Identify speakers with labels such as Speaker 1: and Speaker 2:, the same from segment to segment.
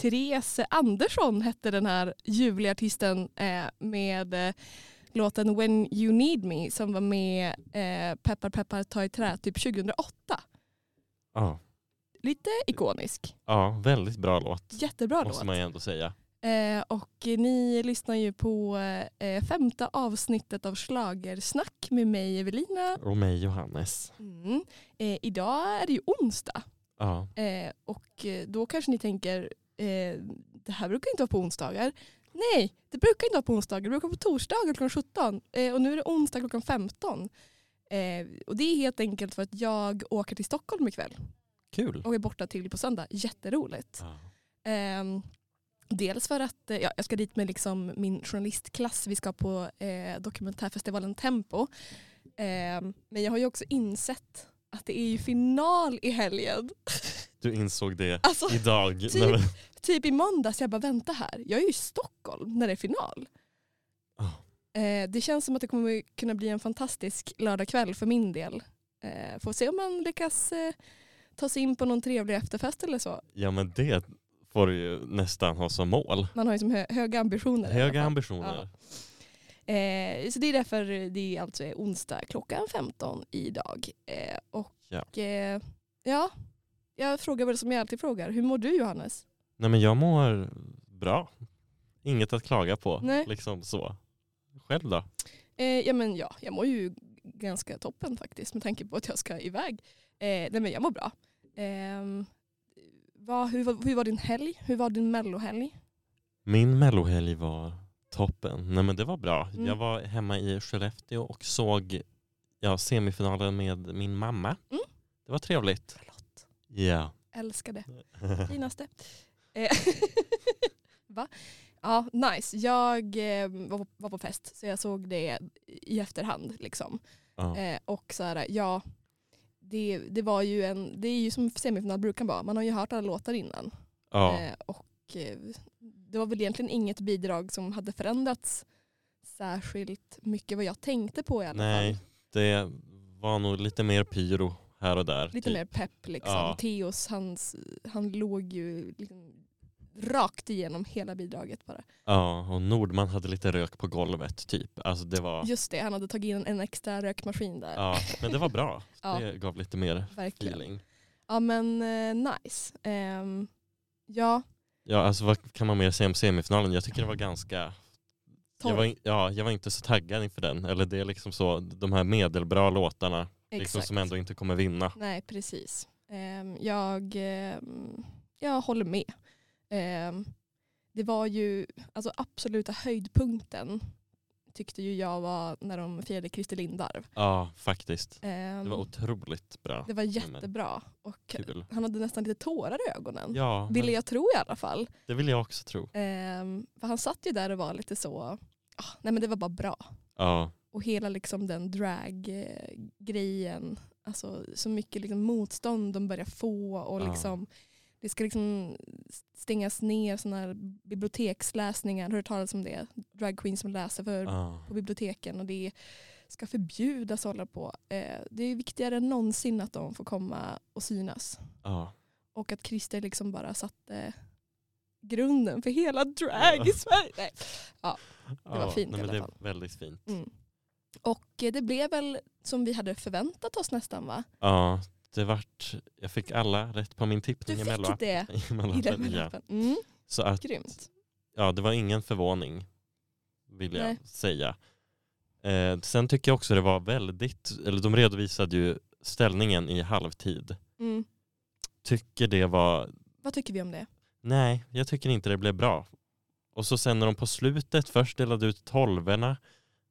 Speaker 1: Therese Andersson hette den här ljuvliga artisten eh, med eh, låten When You Need Me som var med eh, Peppar Peppar Ta i Trä typ 2008.
Speaker 2: Ja,
Speaker 1: Lite ikonisk.
Speaker 2: ja väldigt bra låt.
Speaker 1: Jättebra
Speaker 2: Måste
Speaker 1: låt.
Speaker 2: man ju ändå säga.
Speaker 1: Eh, och ni lyssnar ju på eh, femte avsnittet av Schlagersnack med mig Evelina.
Speaker 2: Och mig Johannes.
Speaker 1: Mm. Eh, idag är det ju onsdag
Speaker 2: Ja.
Speaker 1: eh, och eh, då kanske ni tänker eh, det här brukar inte vara på onsdagar. Nej, det brukar inte vara på onsdagar. Det brukar vara på torsdagar klockan 17 eh, och nu är det onsdag klockan 15. Eh, och det är helt enkelt för att jag åker till Stockholm ikväll
Speaker 2: Kul.
Speaker 1: och är borta till på söndag. Jätteroligt.
Speaker 2: Ja.
Speaker 1: Ehm, dels för att eh, ja, jag ska dit med liksom min journalistklass. Vi ska på eh, dokumentärfestivalen Tempo. Ehm, men jag har ju också insett att det är ju final i helgen.
Speaker 2: Du insåg det
Speaker 1: Alltså
Speaker 2: idag.
Speaker 1: typ.
Speaker 2: Nej, men-
Speaker 1: typ i måndags, jag bara vänta här. Jag är ju i Stockholm när det är final.
Speaker 2: Ja.
Speaker 1: Eh, det känns som att det kommer kunna bli en fantastisk lördagkväll för min del. Eh, får se om man lyckas eh, ta sig in på någon trevlig efterfest eller så.
Speaker 2: Ja men det får du ju nästan ha som mål.
Speaker 1: Man har ju som hö- höga ambitioner. i alla
Speaker 2: Höga
Speaker 1: fall.
Speaker 2: ambitioner.
Speaker 1: Eh, så det är därför det alltså är onsdag klockan 15 idag. Eh, och
Speaker 2: Ja.
Speaker 1: Eh, ja, jag frågar väl som jag alltid frågar. Hur mår du Johannes?
Speaker 2: Nej men jag mår bra. Inget att klaga på.
Speaker 1: Nej.
Speaker 2: Liksom så. Själv då?
Speaker 1: Eh, ja, men ja, jag mår ju ganska toppen faktiskt med tanke på att jag ska iväg. Eh, nej men jag mår bra. Ehm, vad, hur, var- hur var din helg? Hur var din mellohelg?
Speaker 2: Min mellohelg var toppen. Nej men det var bra.
Speaker 1: Mm.
Speaker 2: Jag var hemma i Skellefteå och såg ja, semifinalen med min mamma.
Speaker 1: Mm.
Speaker 2: Det var trevligt.
Speaker 1: Förlåt.
Speaker 2: Ja.
Speaker 1: Älskade. Finaste. Eh, Va? Ja, nice. Jag eh, var, på, var på fest så jag såg det i efterhand. Liksom.
Speaker 2: ja.
Speaker 1: Eh, och så här, ja, det, det var ju en, det är ju som semifinal brukar vara. Man har ju hört alla låtar innan.
Speaker 2: ja.
Speaker 1: Eh, och eh, det var väl egentligen inget bidrag som hade förändrats särskilt mycket vad jag tänkte på i alla
Speaker 2: Nej,
Speaker 1: fall.
Speaker 2: det var nog lite mer pyro här och där.
Speaker 1: Lite
Speaker 2: typ.
Speaker 1: mer pepp liksom.
Speaker 2: Ja.
Speaker 1: Theos, hans, han låg ju liksom rakt igenom hela bidraget bara.
Speaker 2: Ja, och Nordman hade lite rök på golvet typ. Alltså det var...
Speaker 1: Just det, han hade tagit in en extra rökmaskin där.
Speaker 2: Ja, men det var bra.
Speaker 1: Ja.
Speaker 2: Det gav lite mer
Speaker 1: Verkligen.
Speaker 2: feeling.
Speaker 1: Ja men eh, nice. Ehm, ja,
Speaker 2: Ja, alltså vad kan man mer säga om semifinalen? Jag tycker det var ganska... Jag
Speaker 1: Torr.
Speaker 2: var, in- ja, jag var inte så taggad inför den. Eller det är liksom så, de här medelbra låtarna liksom,
Speaker 1: exakt.
Speaker 2: som ändå inte kommer vinna.
Speaker 1: Nej precis. Ehm, jag, ehm, jag håller med. Ehm, det var ju alltså absoluta höjdpunkten tyckte ju jag var när de firade Christer Lindarw.
Speaker 2: Ja, faktiskt.
Speaker 1: Ehm,
Speaker 2: Det var otroligt bra.
Speaker 1: det var jättebra och
Speaker 2: Kul.
Speaker 1: han hade nästan lite tårar i ögonen.
Speaker 2: Ja, men
Speaker 1: Ville jag tro i alla fall.
Speaker 2: det vill jag också tro.
Speaker 1: Ehm, för han satt ju där och var lite så, ah, nej men det var bara bra.
Speaker 2: Ja,
Speaker 1: Och hela liksom den draggrejen. Alltså så mycket liksom motstånd de börjar få och
Speaker 2: Ja.
Speaker 1: liksom det ska liksom stängas ner sådana här biblioteksläsningar. Har du hört talas om det? Drag queens som läser för,
Speaker 2: ja.
Speaker 1: på biblioteken och det ska förbjudas att hålla på. Eh, det är viktigare än någonsin att de får komma och synas.
Speaker 2: ja.
Speaker 1: Och att Christer liksom bara satte grunden för hela drag i
Speaker 2: Ja.
Speaker 1: Sverige. Nej.
Speaker 2: Det
Speaker 1: var fint
Speaker 2: Nej, men
Speaker 1: i alla
Speaker 2: det
Speaker 1: fall.
Speaker 2: är väldigt fint.
Speaker 1: Mm. Och eh, det blev väl som vi hade förväntat oss nästan va?
Speaker 2: Ja, det vart... Jag fick alla rätt på min
Speaker 1: Du
Speaker 2: tippning
Speaker 1: fick
Speaker 2: emellan.
Speaker 1: det i den
Speaker 2: Emellan, ja.
Speaker 1: lappen. Mm,
Speaker 2: Så att
Speaker 1: grymt.
Speaker 2: ja, det var ingen förvåning vill jag
Speaker 1: Nej.
Speaker 2: säga. Eh, sen tycker jag också det var väldigt, eller de redovisade ju ställningen i halvtid.
Speaker 1: Mm.
Speaker 2: Tycker det var,
Speaker 1: Vad tycker vi om det?
Speaker 2: nej jag tycker inte det blev bra. Och så sen när de på slutet först delade ut tolverna,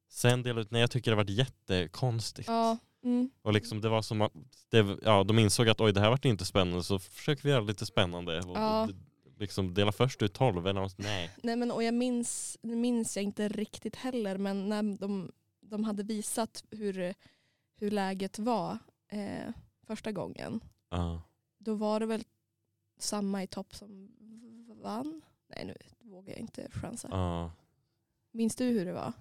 Speaker 2: sen delade ut, nej jag tycker det varit jättekonstigt.
Speaker 1: Ja, mm.
Speaker 2: Och liksom det var som att, det, ja de insåg att oj det här vart inte spännande så försöker vi göra lite spännande. Och,
Speaker 1: Ja.
Speaker 2: d- Liksom dela först ut tolverna och nej.
Speaker 1: Nej, men, och jag minns, nu minns jag inte riktigt heller men när de, de hade visat hur, hur läget var eh, första gången
Speaker 2: Ja.
Speaker 1: då var det väl samma i topp som vann? Nej nu vågar jag inte chansa.
Speaker 2: ja.
Speaker 1: Minns du hur det var?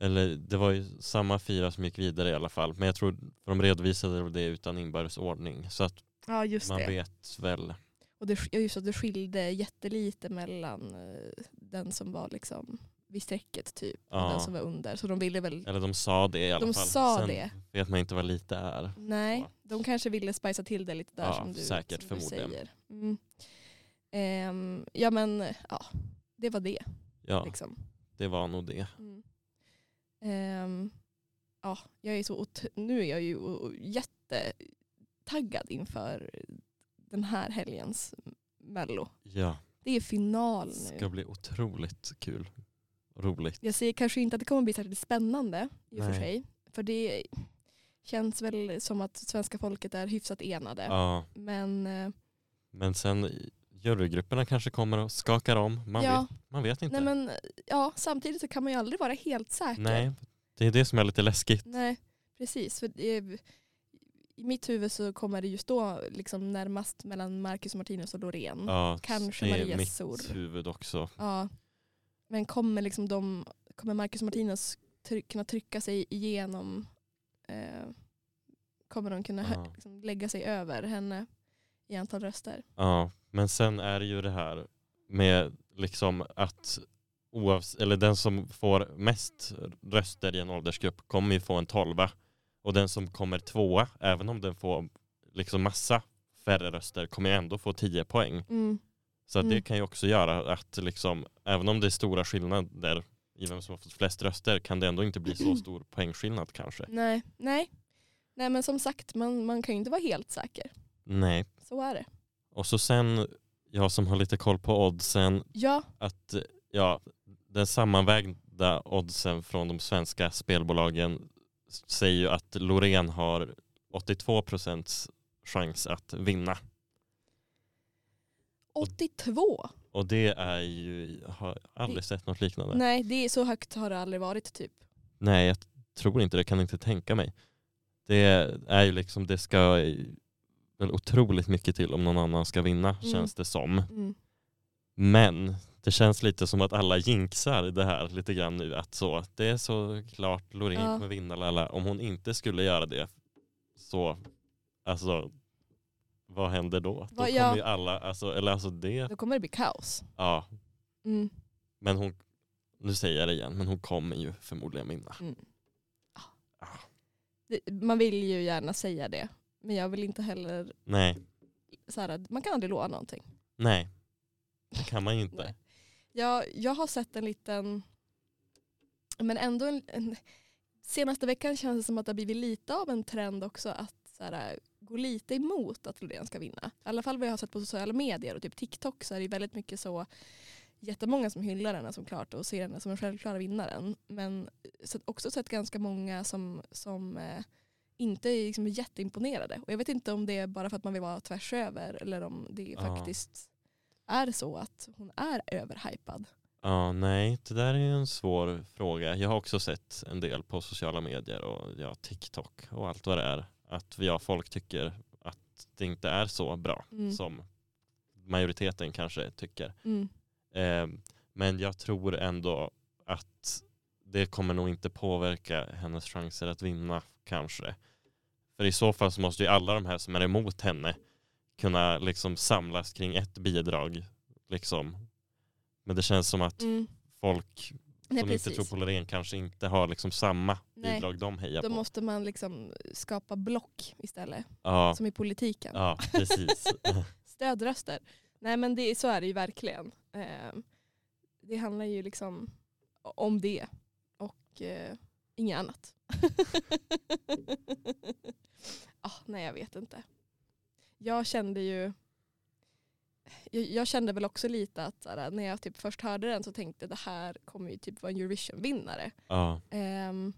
Speaker 2: Eller det var ju samma fyra som gick vidare i alla fall. Men jag tror, för de redovisade väl det utan inbördes ordning. Så att
Speaker 1: Ja just
Speaker 2: man
Speaker 1: det.
Speaker 2: vet väl.
Speaker 1: Och det, ja, just att det skilde jättelite mellan eh, den som var liksom vid strecket typ och
Speaker 2: Ja.
Speaker 1: den som var under. Så de ville väl,
Speaker 2: Eller de sa det i alla
Speaker 1: de
Speaker 2: fall.
Speaker 1: sa
Speaker 2: Sen
Speaker 1: det.
Speaker 2: vet man inte vad lite är.
Speaker 1: Nej,
Speaker 2: Ja.
Speaker 1: de kanske ville spicea till det lite där
Speaker 2: Ja,
Speaker 1: som, du,
Speaker 2: säkert,
Speaker 1: som du
Speaker 2: förmodligen.
Speaker 1: säger. Mm. Ehm, ja men ja, det var det.
Speaker 2: Ja,
Speaker 1: Liksom.
Speaker 2: det var nog det.
Speaker 1: Mm. Ehm, ja, jag är så ot- nu är jag ju o- o- jättetaggad inför den här helgens mello.
Speaker 2: Ja,
Speaker 1: Det är final
Speaker 2: det
Speaker 1: nu.
Speaker 2: ska bli otroligt kul. Roligt.
Speaker 1: Jag säger kanske inte att det kommer bli särskilt spännande i och för
Speaker 2: Nej.
Speaker 1: sig. För det känns väl som att svenska folket är hyfsat enade.
Speaker 2: Ja,
Speaker 1: Men eh,
Speaker 2: men sen jurygrupperna kanske kommer och skakar om. Man,
Speaker 1: ja,
Speaker 2: vet, man vet inte.
Speaker 1: nej men, ja, samtidigt så kan man ju aldrig vara helt säker.
Speaker 2: Nej, det är det som är lite läskigt.
Speaker 1: Nej, precis. För det, är- I mitt huvud så kommer det ju stå liksom närmast mellan Marcus Martinus och Loreen. Ja.
Speaker 2: Ja,
Speaker 1: Mm, Kanske
Speaker 2: det är
Speaker 1: Marias
Speaker 2: mitt
Speaker 1: sor.
Speaker 2: huvud också.
Speaker 1: Men kommer, liksom de, kommer Marcus Martinus try- kunna trycka sig igenom? Eh, kommer de kunna hö-
Speaker 2: Ja.
Speaker 1: liksom lägga sig över henne i antal röster?
Speaker 2: Ja, men sen är det ju det här med liksom att oavs- eller den som får mest röster i en åldersgrupp kommer ju få en tolva och den som kommer tvåa, även om den får liksom massa färre röster, kommer ju ändå få 10 poäng.
Speaker 1: Mm.
Speaker 2: Så att det
Speaker 1: Mm.
Speaker 2: kan ju också göra att liksom, även om det är stora skillnader i vem som har fått flest röster kan det ändå inte bli så stor poängskillnad kanske.
Speaker 1: Nej, nej. Nej men som sagt, man, man kan ju inte vara helt säker.
Speaker 2: Nej,
Speaker 1: Så är det.
Speaker 2: och så sen jag som har lite koll på oddsen
Speaker 1: Ja,
Speaker 2: att eh, ja, den sammanvägda oddsen från de svenska spelbolagen s- säger ju att Loreen har 82 procents chans att vinna.
Speaker 1: 82.
Speaker 2: Och det är ju, jag har aldrig sett något liknande. Nej.
Speaker 1: Nej, det är så högt har det aldrig varit typ.
Speaker 2: jag tror inte det, kan inte tänka mig. Det är ju liksom, det ska i- väl otroligt mycket till om någon annan ska vinna
Speaker 1: Mm.
Speaker 2: känns det som.
Speaker 1: Mm.
Speaker 2: Men det känns lite som att alla jinxar det här lite grann nu. Att så, det är så klart Loreen
Speaker 1: Ja.
Speaker 2: kommer vinna. Lala. Om hon inte skulle göra det så, alltså vad händer då? Då
Speaker 1: Vad-
Speaker 2: kommer
Speaker 1: ja.
Speaker 2: ju alla, alltså, eller alltså det,
Speaker 1: Då kommer det bli kaos.
Speaker 2: ja.
Speaker 1: Mm.
Speaker 2: Men hon, nu säger jag det igen, men hon kommer ju förmodligen vinna.
Speaker 1: Mm. Ah. Det, man vill ju gärna säga det. Men jag vill inte heller,
Speaker 2: Nej,
Speaker 1: så här, man kan aldrig lova någonting.
Speaker 2: nej. Det kan man ju inte.
Speaker 1: Nej. Jag, jag har sett en liten, men ändå en, en, senaste veckan känns det som att det har blivit lite av en trend också att så här, gå lite emot att Loreen ska vinna. I alla fall vad jag har sett på sociala medier och typ TikTok så är det väldigt mycket så jättemånga som hyllar henne som klart och ser henne som den självklara vinnaren. Men så att också sett ganska många som, som eh, inte är liksom jätteimponerade. Och jag vet inte om det är bara för att man vill vara tvärs över eller om det
Speaker 2: Ja.
Speaker 1: faktiskt är så att hon är överhypad.
Speaker 2: Ja, nej, det där är ju en svår fråga. Jag har också sett en del på sociala medier och ja, TikTok och allt vad det är. Att ja, folk tycker att det inte är så bra
Speaker 1: Mm.
Speaker 2: som majoriteten kanske tycker.
Speaker 1: Mm.
Speaker 2: Eh, men jag tror ändå att det kommer nog inte påverka hennes chanser att vinna kanske. För i så fall så måste ju alla de här som är emot henne kunna liksom samlas kring ett bidrag. Liksom. Men det känns som att
Speaker 1: Mm.
Speaker 2: folk
Speaker 1: Nej,
Speaker 2: som inte
Speaker 1: precis.
Speaker 2: tror på Loreen kanske inte har liksom samma
Speaker 1: Nej.
Speaker 2: bidrag de hejar
Speaker 1: Då
Speaker 2: på.
Speaker 1: måste man liksom skapa block istället,
Speaker 2: Ja,
Speaker 1: som i politiken.
Speaker 2: ja, precis.
Speaker 1: Stödröster. Nej men det, så är det ju verkligen. Eh, det handlar ju liksom om det och eh, inget annat. ah, nej jag vet inte. Jag kände ju jag, jag kände väl också lite att såhär, när jag typ först hörde den så tänkte jag, det här kommer ju typ vara en Eurovision-vinnare.
Speaker 2: ja,
Speaker 1: Ehm,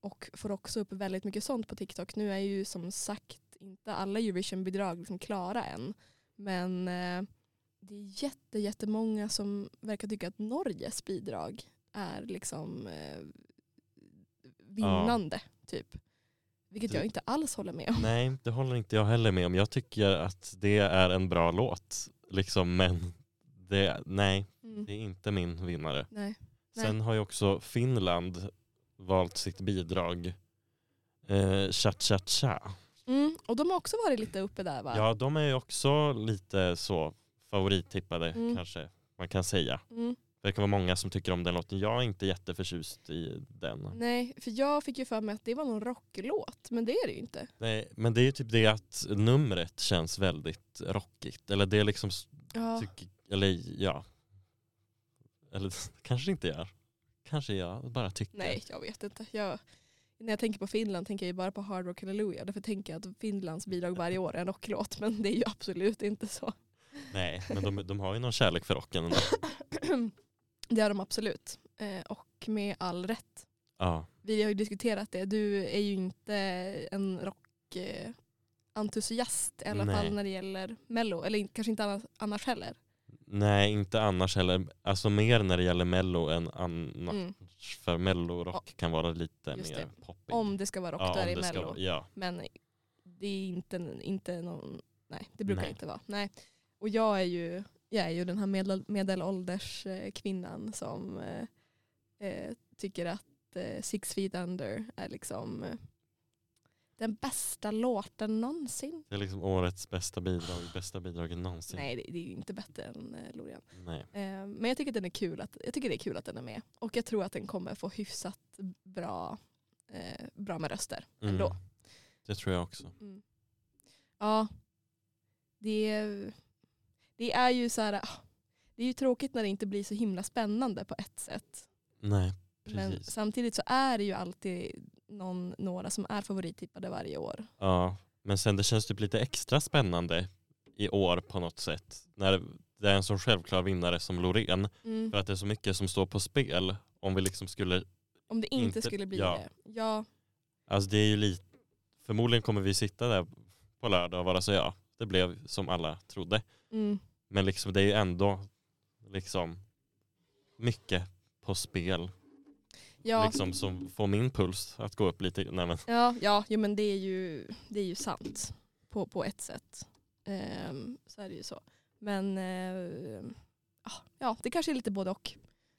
Speaker 1: och får också upp väldigt mycket sånt på TikTok. Nu är ju som sagt inte alla Eurovision-bidrag liksom klara än. Men eh, det är jätte, jättemånga som verkar tycka att Norges bidrag är liksom eh, vinnande. typ. Vilket
Speaker 2: Det-
Speaker 1: jag inte alls håller med om.
Speaker 2: nej, det håller inte jag heller med om. Jag tycker att det är en bra låt, liksom, men det, nej,
Speaker 1: Mm.
Speaker 2: det är inte min vinnare.
Speaker 1: Nej. Nej.
Speaker 2: Sen har ju också Finland valt sitt bidrag, eh, Cha Cha Cha,
Speaker 1: Mm, och de har också varit lite uppe där va?
Speaker 2: Ja, de är ju också lite så favorittippade
Speaker 1: Mm.
Speaker 2: kanske man kan säga.
Speaker 1: Mm.
Speaker 2: Det verkar vara många som tycker om den låten. Jag är inte jätteförtjust i den.
Speaker 1: Nej, för jag fick ju för mig att det var någon rocklåt, men det är det ju inte.
Speaker 2: Nej, men det är ju typ det att numret känns väldigt rockigt. Eller det är liksom, s-
Speaker 1: Ja.
Speaker 2: tycker, eller ja. Eller kanske det inte gör. Kanske jag bara tycker.
Speaker 1: Nej, jag vet inte. Jag, när jag tänker på Finland tänker jag ju bara på Hard Rock Hallelujah. Därför tänker jag att Finlands bidrag varje år är en rocklåt. Men det är ju absolut inte så.
Speaker 2: Nej, men de, de har ju någon kärlek för rocken ändå.
Speaker 1: Det är de absolut. Eh, och med all rätt.
Speaker 2: Ja.
Speaker 1: Vi har ju diskuterat det. Du är ju inte en rockentusiast eh, entusiast, i alla
Speaker 2: Nej.
Speaker 1: fall när det gäller Mello. Eller in- kanske inte annars, annars heller.
Speaker 2: Nej, inte annars heller. Alltså mer när det gäller mello än annars.
Speaker 1: Mm.
Speaker 2: För mellorock kan vara lite
Speaker 1: Just
Speaker 2: mer
Speaker 1: det.
Speaker 2: poppig.
Speaker 1: Om det ska vara rock då är det
Speaker 2: ska
Speaker 1: Mello.
Speaker 2: vara- Ja,
Speaker 1: Men det är inte, inte någon, nej det brukar
Speaker 2: Nej.
Speaker 1: inte vara. Nej. Och jag är ju, jag är ju den här medel, medelålders eh, kvinnan som eh, eh, tycker att eh, Six Feet Under är liksom eh, den bästa låten någonsin.
Speaker 2: det är liksom årets bästa bidrag. Bästa bidraget någonsin.
Speaker 1: Nej det, det är ju inte bättre än eh, Loreen.
Speaker 2: Nej.
Speaker 1: Eh, men jag tycker, att den är kul att, jag tycker det är kul att den är med. Och jag tror att den kommer få hyfsat bra, eh, bra med röster. Ändå.
Speaker 2: Mm. Det tror jag också.
Speaker 1: Mm. Ja, det, det är ju så här, ah, det är ju tråkigt när det inte blir så himla spännande på ett sätt.
Speaker 2: Nej,
Speaker 1: Men
Speaker 2: precis.
Speaker 1: samtidigt så är det ju alltid någon, några som är favorittippade varje år.
Speaker 2: Ja, men sen det känns typ lite extra spännande i år på något sätt. När det är en sån självklar vinnare som Loreen.
Speaker 1: Mm.
Speaker 2: För att det är så mycket som står på spel. Om vi liksom skulle
Speaker 1: Om det inte
Speaker 2: inte-
Speaker 1: skulle bli
Speaker 2: ja.
Speaker 1: det. Ja,
Speaker 2: Alltså det är ju lite, förmodligen kommer vi sitta där på lördag och vara så ja, det blev som alla trodde.
Speaker 1: mm.
Speaker 2: Men liksom det är ju ändå liksom mycket på spel
Speaker 1: ja.
Speaker 2: liksom som får min puls att gå upp lite. Nej, men,
Speaker 1: Ja, ja jo, men det är ju, det är ju sant på, på ett sätt. Ehm, så är det ju så. Men ehm, ah, ja, det kanske är lite både och.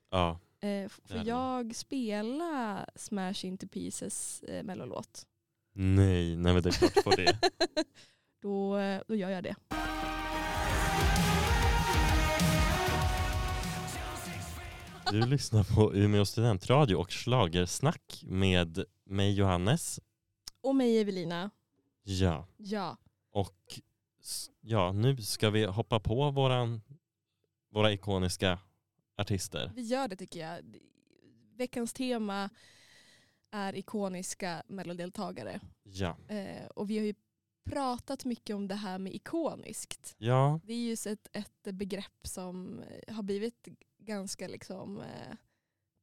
Speaker 2: ja,
Speaker 1: Eh, f-
Speaker 2: Det
Speaker 1: får
Speaker 2: hade
Speaker 1: jag spela Smash Into Pieces eh, mellolåt?
Speaker 2: nej, nej men det är klart på det.
Speaker 1: Då, eh, då gör jag det.
Speaker 2: Du lyssnar på Umeå studentradio och Schlagersnack med mig Johannes.
Speaker 1: Och mig Evelina.
Speaker 2: Ja,
Speaker 1: Ja.
Speaker 2: och s- ja, nu ska vi hoppa på våran, våra ikoniska artister.
Speaker 1: Vi gör det tycker jag. D- Veckans tema är ikoniska mellodeltagare.
Speaker 2: Ja.
Speaker 1: Eh, och vi har ju pratat mycket om det här med ikoniskt.
Speaker 2: Ja,
Speaker 1: Det är ju så ett, ett begrepp som eh, har blivit ganska liksom, eh,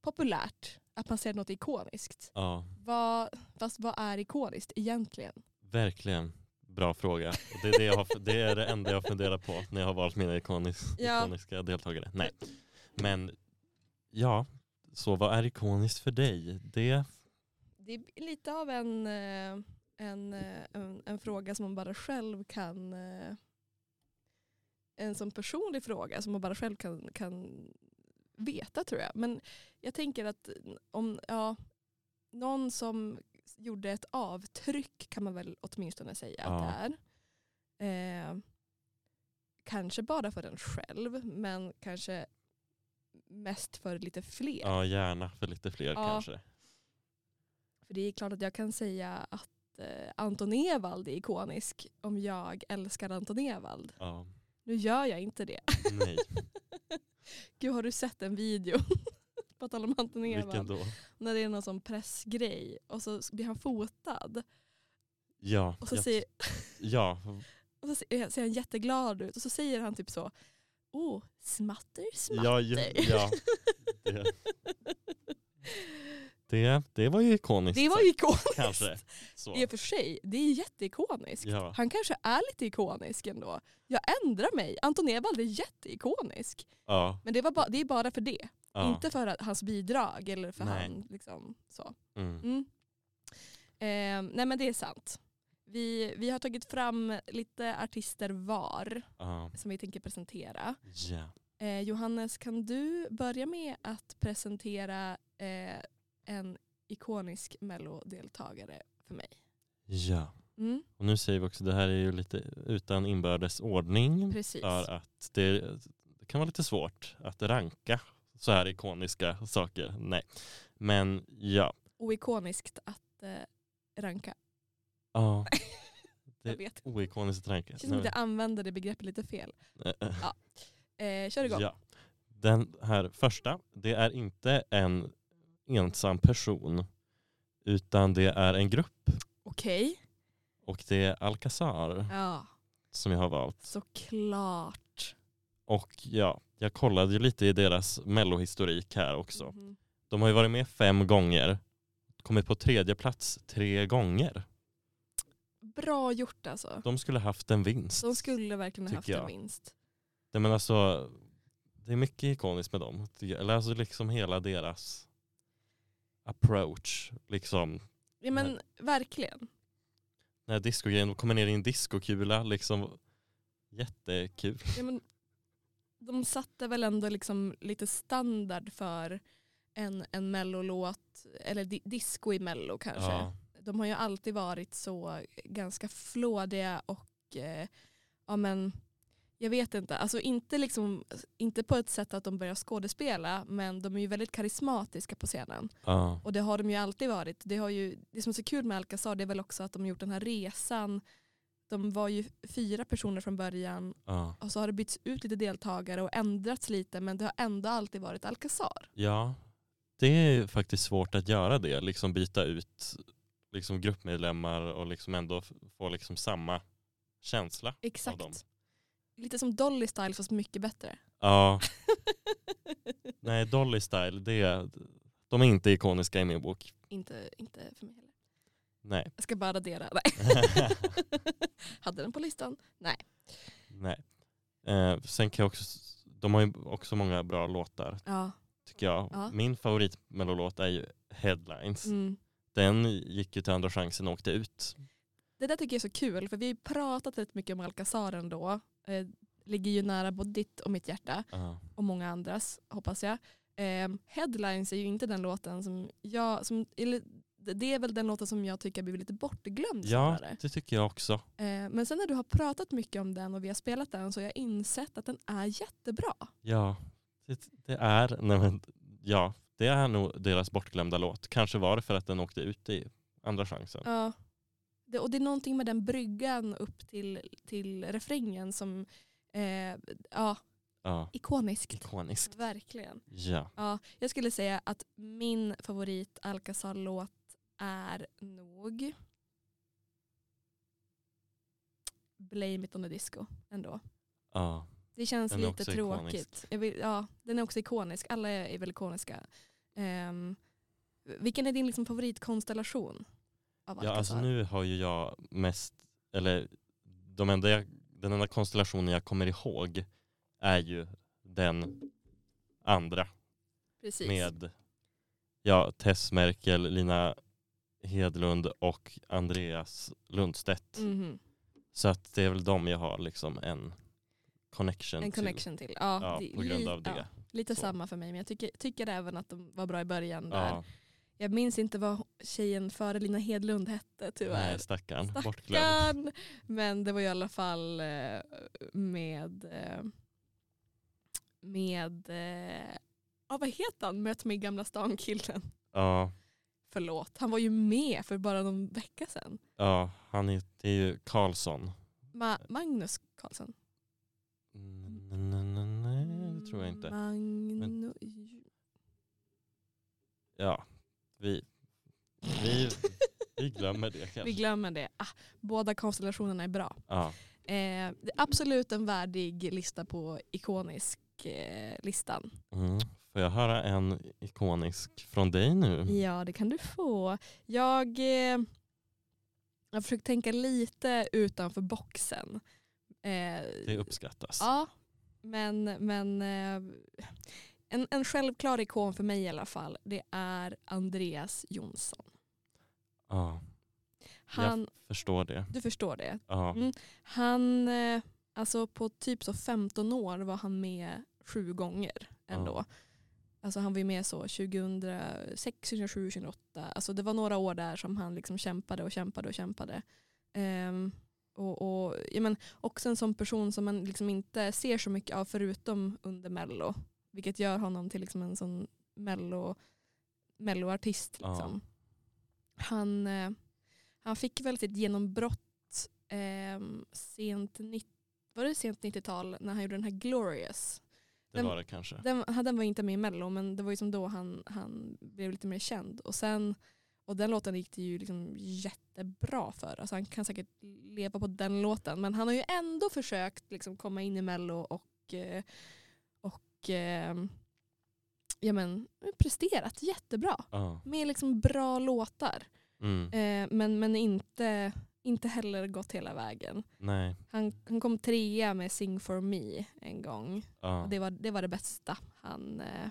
Speaker 1: populärt. Att man säger något ikoniskt.
Speaker 2: ja
Speaker 1: Vad, fast vad är ikoniskt egentligen?
Speaker 2: verkligen. Bra fråga. Och Det är det, jag har, det är det enda jag funderar på när jag har valt mina ikonis,
Speaker 1: Ja.
Speaker 2: ikoniska deltagare. Nej. Men ja, så vad är ikoniskt för dig? Det,
Speaker 1: Det är lite av en, eh, en, eh, en, en fråga som man bara själv kan eh, en sån personlig fråga som man bara själv kan, kan veta tror jag. Men jag tänker att om ja, någon som gjorde ett avtryck kan man väl åtminstone säga att
Speaker 2: Ja.
Speaker 1: det är. Eh, kanske bara för den själv men kanske mest för lite fler.
Speaker 2: ja, gärna för lite fler
Speaker 1: Ja.
Speaker 2: kanske.
Speaker 1: För det är klart att jag kan säga att eh, Anton Ewald är ikonisk om jag älskar Anton Ewald.
Speaker 2: Ja,
Speaker 1: Nu gör jag inte det.
Speaker 2: nej.
Speaker 1: Gud har du sett en video? På tal om Anton
Speaker 2: Vilken
Speaker 1: Ewald.
Speaker 2: då?
Speaker 1: När det är någon sån pressgrej och så blir han fotad.
Speaker 2: Ja,
Speaker 1: Och så,
Speaker 2: ja,
Speaker 1: säger,
Speaker 2: ja,
Speaker 1: och så ser, ser han jätteglad ut och så säger han typ så. Åh, smatter, smatter.
Speaker 2: ja, ju- ja. Det, det, det var ju ikoniskt.
Speaker 1: Det var
Speaker 2: sagt,
Speaker 1: ju ikoniskt.
Speaker 2: Kanske. Så.
Speaker 1: I och för sig, det är jätteikoniskt.
Speaker 2: Ja.
Speaker 1: Han kanske är lite ikonisk ändå. Jag ändrar mig. Anton Ewald är jätteikonisk.
Speaker 2: Ja,
Speaker 1: Men det, var ba- det är bara för det.
Speaker 2: ja.
Speaker 1: Inte för att, hans bidrag eller för
Speaker 2: Nej.
Speaker 1: han. Liksom, så.
Speaker 2: Mm.
Speaker 1: Mm. Eh, nej men det är sant. Vi, vi har tagit fram lite artister var
Speaker 2: Ja.
Speaker 1: som vi tänker presentera.
Speaker 2: Ja.
Speaker 1: Eh, Johannes, kan du börja med att presentera eh, en ikonisk mellodeltagare för mig?
Speaker 2: Ja,
Speaker 1: Mm,
Speaker 2: Och nu säger vi också, det här är ju lite utan inbördes ordning.
Speaker 1: precis.
Speaker 2: För att det, det kan vara lite svårt att ranka så här ikoniska saker. Nej. Men ja.
Speaker 1: Oikoniskt att eh, ranka.
Speaker 2: ja
Speaker 1: Jag
Speaker 2: Det-
Speaker 1: vet. Det
Speaker 2: oikoniskt att ranka.
Speaker 1: känns som att jag använder det begreppet lite fel.
Speaker 2: eh.
Speaker 1: Eh, kör igång.
Speaker 2: Ja. Den här första, det är inte en ensam person utan det är en grupp
Speaker 1: Okej.
Speaker 2: och det är Alcazar
Speaker 1: Ja,
Speaker 2: som jag har valt.
Speaker 1: såklart.
Speaker 2: Och ja, jag kollade ju lite i deras mellohistorik här också.
Speaker 1: Mhm.
Speaker 2: De har ju varit med fem gånger, kommit på tredje plats tre gånger.
Speaker 1: Bra gjort alltså.
Speaker 2: De skulle haft en vinst.
Speaker 1: De skulle verkligen ha haft
Speaker 2: Tycker
Speaker 1: en
Speaker 2: jag.
Speaker 1: vinst.
Speaker 2: Nej, men alltså, det är mycket ikoniskt med dem. Eller alltså liksom hela deras approach. Liksom
Speaker 1: Ja, men verkligen.
Speaker 2: den här discogrejen, de kommer ner i en discokula liksom. Jättekul.
Speaker 1: Ja, men, de satte väl ändå liksom lite standard för en, en mellolåt, eller di- disco i mello kanske.
Speaker 2: Ja,
Speaker 1: De har ju alltid varit så ganska flådiga och eh, ja men jag vet inte, alltså inte, liksom, inte på ett sätt att de börjar skådespela men de är ju väldigt karismatiska på scenen.
Speaker 2: ja,
Speaker 1: Och det har de ju alltid varit. Det, har ju, det som är så kul med Alcazar det är väl också att de har gjort den här resan. De var ju fyra personer från början
Speaker 2: ja.
Speaker 1: och så har det bytts ut lite deltagare och ändrats lite men det har ändå alltid varit Alcazar.
Speaker 2: ja, det är faktiskt svårt att göra det. Liksom byta ut liksom gruppmedlemmar och liksom ändå f- få liksom samma känsla. Av dem.
Speaker 1: Exakt. Lite som Dolly Style fast mycket bättre.
Speaker 2: Ja, nej Dolly Style, det, de är inte ikoniska i min bok.
Speaker 1: inte, inte för mig heller.
Speaker 2: Nej.
Speaker 1: Jag ska bara radera. Nej. Hade den på listan.
Speaker 2: nej. Eh, sen kan jag också, s- de har ju också många bra låtar
Speaker 1: Ja.
Speaker 2: tycker jag.
Speaker 1: Ja.
Speaker 2: Min favoritmelolåt är ju Headlines.
Speaker 1: Mm.
Speaker 2: Den gick ju till Andra chansen och åkte ut.
Speaker 1: Det där tycker jag är så kul för vi har ju pratat rätt mycket om Alcazar ändå. Eh, ligger ju nära både ditt och mitt hjärta. och många andras hoppas jag. Ehm, Headlines är ju inte den låten som jag, som, eller, det- det är väl den låten som jag tycker har blivit lite bortglömd
Speaker 2: Ja,
Speaker 1: snarare.
Speaker 2: det tycker jag också.
Speaker 1: Ehm, men sen när du har pratat mycket om den och vi har spelat den så har jag insett att den är jättebra.
Speaker 2: Ja, det, det är nej men, ja, det är nog deras bortglömda låt. Kanske var det för att den åkte ut i Andra chansen.
Speaker 1: Ja. Det, och det är någonting med den bryggan upp till, till refrängen som, eh, ja,
Speaker 2: Ja,
Speaker 1: ikoniskt.
Speaker 2: ikonisk.
Speaker 1: Verkligen.
Speaker 2: Ja.
Speaker 1: Ja, jag skulle säga att min favorit Alcazar-låt är nog Blame it on the disco ändå.
Speaker 2: ja.
Speaker 1: Det känns
Speaker 2: Den är
Speaker 1: lite
Speaker 2: också
Speaker 1: tråkigt.
Speaker 2: ikonisk.
Speaker 1: Jag vill, ja, den är också ikonisk. Alla är, är väl ikoniska. Ehm, vilken är din liksom, favoritkonstellation? Av
Speaker 2: Ja, alltså
Speaker 1: Alcazar?
Speaker 2: nu har ju jag mest, eller de enda jag, den enda konstellationen jag kommer ihåg är ju den andra
Speaker 1: Precis.
Speaker 2: med ja, Tess Merkel, Lina Hedlund och Andreas Lundstedt.
Speaker 1: Mhm.
Speaker 2: Så att det är väl de jag har liksom en connection,
Speaker 1: En connection till. Ja,
Speaker 2: till. Ja,
Speaker 1: det-
Speaker 2: på grund
Speaker 1: li-
Speaker 2: av
Speaker 1: ja,
Speaker 2: det.
Speaker 1: lite
Speaker 2: Så.
Speaker 1: samma för mig men jag tycker, tycker även att de var bra i början där.
Speaker 2: Ja,
Speaker 1: Jag minns inte vad tjejen före Lina Hedlund hette tyvärr.
Speaker 2: nej, stackarn. Bortglömd.
Speaker 1: Stackarn! Men det var i alla fall eh, med eh, med eh, ja, vad heter han? Möt mig gamla stan-killen.
Speaker 2: Ja,
Speaker 1: Förlåt, han var ju med för bara någon vecka sedan.
Speaker 2: ja, han är, det är ju Karlsson.
Speaker 1: Ma- Magnus Karlsson.
Speaker 2: Mm, Nej, nej, nej, Mm, det tror jag inte.
Speaker 1: Magnus.
Speaker 2: Ja, vi, vi, vi glömmer det kanske.
Speaker 1: Vi glömmer det. Ah, båda konstellationerna är bra.
Speaker 2: ja,
Speaker 1: Eh, det är absolut en värdig lista på ikonisk eh, listan.
Speaker 2: mm. Får jag höra en ikonisk från dig nu?
Speaker 1: Ja, det kan du få. Jag eh, har försökt tänka lite utanför boxen. Eh,
Speaker 2: Det uppskattas.
Speaker 1: ja, men, men eh, en, en självklar ikon för mig i alla fall, det är Andreas Jonsson.
Speaker 2: Ja,
Speaker 1: Han,
Speaker 2: förstår det.
Speaker 1: Du förstår det.
Speaker 2: Ja,
Speaker 1: Mm. Han, eh, alltså på typ så 15 år var han med sju gånger ändå.
Speaker 2: Ja.
Speaker 1: Alltså han var ju med så 2006, 2007, 2008. Alltså det var några år där som han liksom kämpade och kämpade och kämpade. Ehm, och, och, ja, men, också en sån person som man liksom inte ser så mycket av förutom under Mello. Vilket gör honom till liksom en sån Mello, Mello-artist.
Speaker 2: Ja.
Speaker 1: Liksom. Han, eh, han fick väl sitt genombrott ehm, sent, nitt- var det sent 90-tal när han gjorde den här Glorious.
Speaker 2: Det
Speaker 1: Den-
Speaker 2: var det kanske.
Speaker 1: Den, han- den var inte med i Mello men det var ju som då han, han blev lite mer känd. Och, sen, och den låten gick det ju liksom jättebra för. Alltså han kan säkert leva på den låten men han har ju ändå försökt liksom komma in i Mello och, eh, och eh, ja men, presterat jättebra.
Speaker 2: Ja.
Speaker 1: Med liksom bra låtar.
Speaker 2: Mm.
Speaker 1: Eh, men men inte, inte heller gått hela vägen.
Speaker 2: Nej.
Speaker 1: Han, han kom trea med Sing for me en gång.
Speaker 2: Ja.
Speaker 1: Och det, var, det var det bästa han, eh,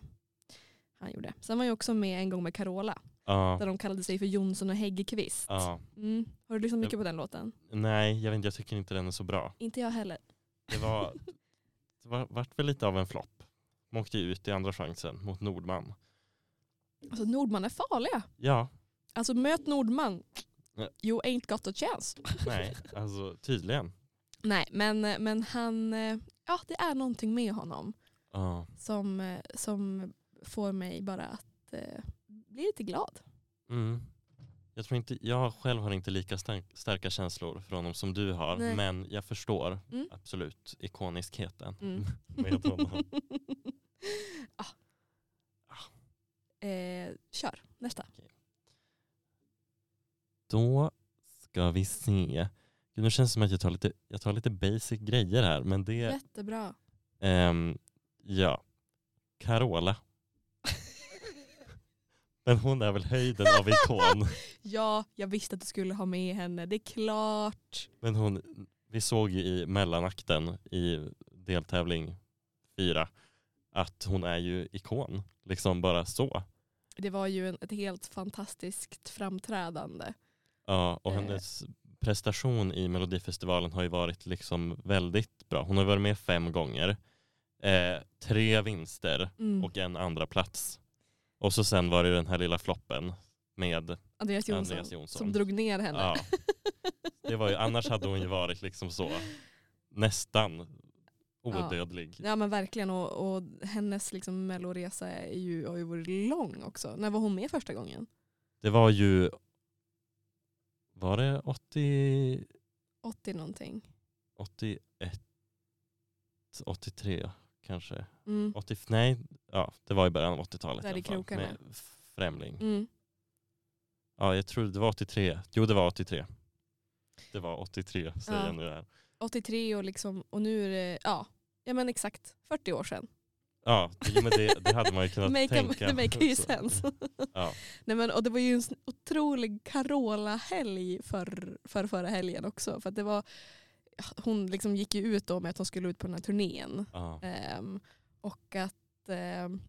Speaker 1: han gjorde. Sen var jag också med en gång med Carola. Där
Speaker 2: Ja.
Speaker 1: de kallade sig för Jonsson och Häggkvist.
Speaker 2: Ja.
Speaker 1: Mm. Har du lyssnat mycket på den låten?
Speaker 2: Nej, jag vet inte. Jag tycker inte den är så bra.
Speaker 1: Inte jag heller.
Speaker 2: Det var, det var vart väl lite av en flopp. De åkte ju ut i andra chansen mot Nordman.
Speaker 1: Alltså Nordman är farliga.
Speaker 2: Ja,
Speaker 1: Alltså möt Nordman.
Speaker 2: Ja.
Speaker 1: You ain't got a chance.
Speaker 2: nej, alltså tydligen.
Speaker 1: Nej men, men han, eh, ja det är någonting med honom
Speaker 2: Ja.
Speaker 1: som, eh, som får mig bara att eh, bli lite glad.
Speaker 2: Mm. Jag, tror inte, jag själv har inte lika stark, starka känslor för honom som du har.
Speaker 1: Nej.
Speaker 2: Men jag förstår
Speaker 1: Mm.
Speaker 2: absolut ikoniskheten
Speaker 1: Mm.
Speaker 2: med honom.
Speaker 1: Eh, kör, nästa.
Speaker 2: Då ska vi se. Gud, Nu känns det som att jag tar lite, jag tar lite basic grejer här. Men det,
Speaker 1: Jättebra.
Speaker 2: ehm, ja. Carola. Men hon är väl höjden av ikon.
Speaker 1: Ja, jag visste att du skulle ha med henne. Det är klart.
Speaker 2: Men hon, vi såg ju i mellanakten i deltävling fyra att hon är ju ikon. Liksom bara så.
Speaker 1: Det var ju en, ett helt fantastiskt framträdande.
Speaker 2: Ja, och
Speaker 1: Eh.
Speaker 2: hennes prestation i Melodifestivalen har ju varit liksom väldigt bra. Hon har varit med fem gånger. Eh, tre vinster
Speaker 1: Mm.
Speaker 2: och en andra plats. Och så sen var det ju den här lilla floppen med
Speaker 1: Andreas, Jonsson,
Speaker 2: Andreas Jonsson.
Speaker 1: som drog ner henne.
Speaker 2: ja, det var ju, annars hade hon ju varit liksom så nästan
Speaker 1: Ja.
Speaker 2: odödlig.
Speaker 1: Ja men verkligen och, och hennes liksom melloresa är ju, har ju varit lång också. När var hon med första gången?
Speaker 2: Det var ju, var det 80,
Speaker 1: 80 någonting.
Speaker 2: 81, 83 kanske?
Speaker 1: Mm.
Speaker 2: 80, nej, ja, det var i början av 80-talet.
Speaker 1: Där
Speaker 2: i
Speaker 1: i
Speaker 2: alla fall,
Speaker 1: krokarna.
Speaker 2: Med F- Främling.
Speaker 1: Mm.
Speaker 2: Ja, jag tror det var 83. Jo, det var 83. Det var 83, säger
Speaker 1: Ja.
Speaker 2: jag nu här.
Speaker 1: 83 och, liksom, och nu är det, ja, ja men exakt 40 år sedan.
Speaker 2: Ja, det- men det, det hade man ju kunnat
Speaker 1: Make a-
Speaker 2: tänka.
Speaker 1: make a
Speaker 2: Så-
Speaker 1: sense.
Speaker 2: Ja.
Speaker 1: Nej, men, och det var ju en sån otrolig Carola-helg för, för förra helgen också. För att det var, hon liksom gick ju ut då med att hon skulle ut på den här turnén.
Speaker 2: Ja,
Speaker 1: Ehm, och att ehm,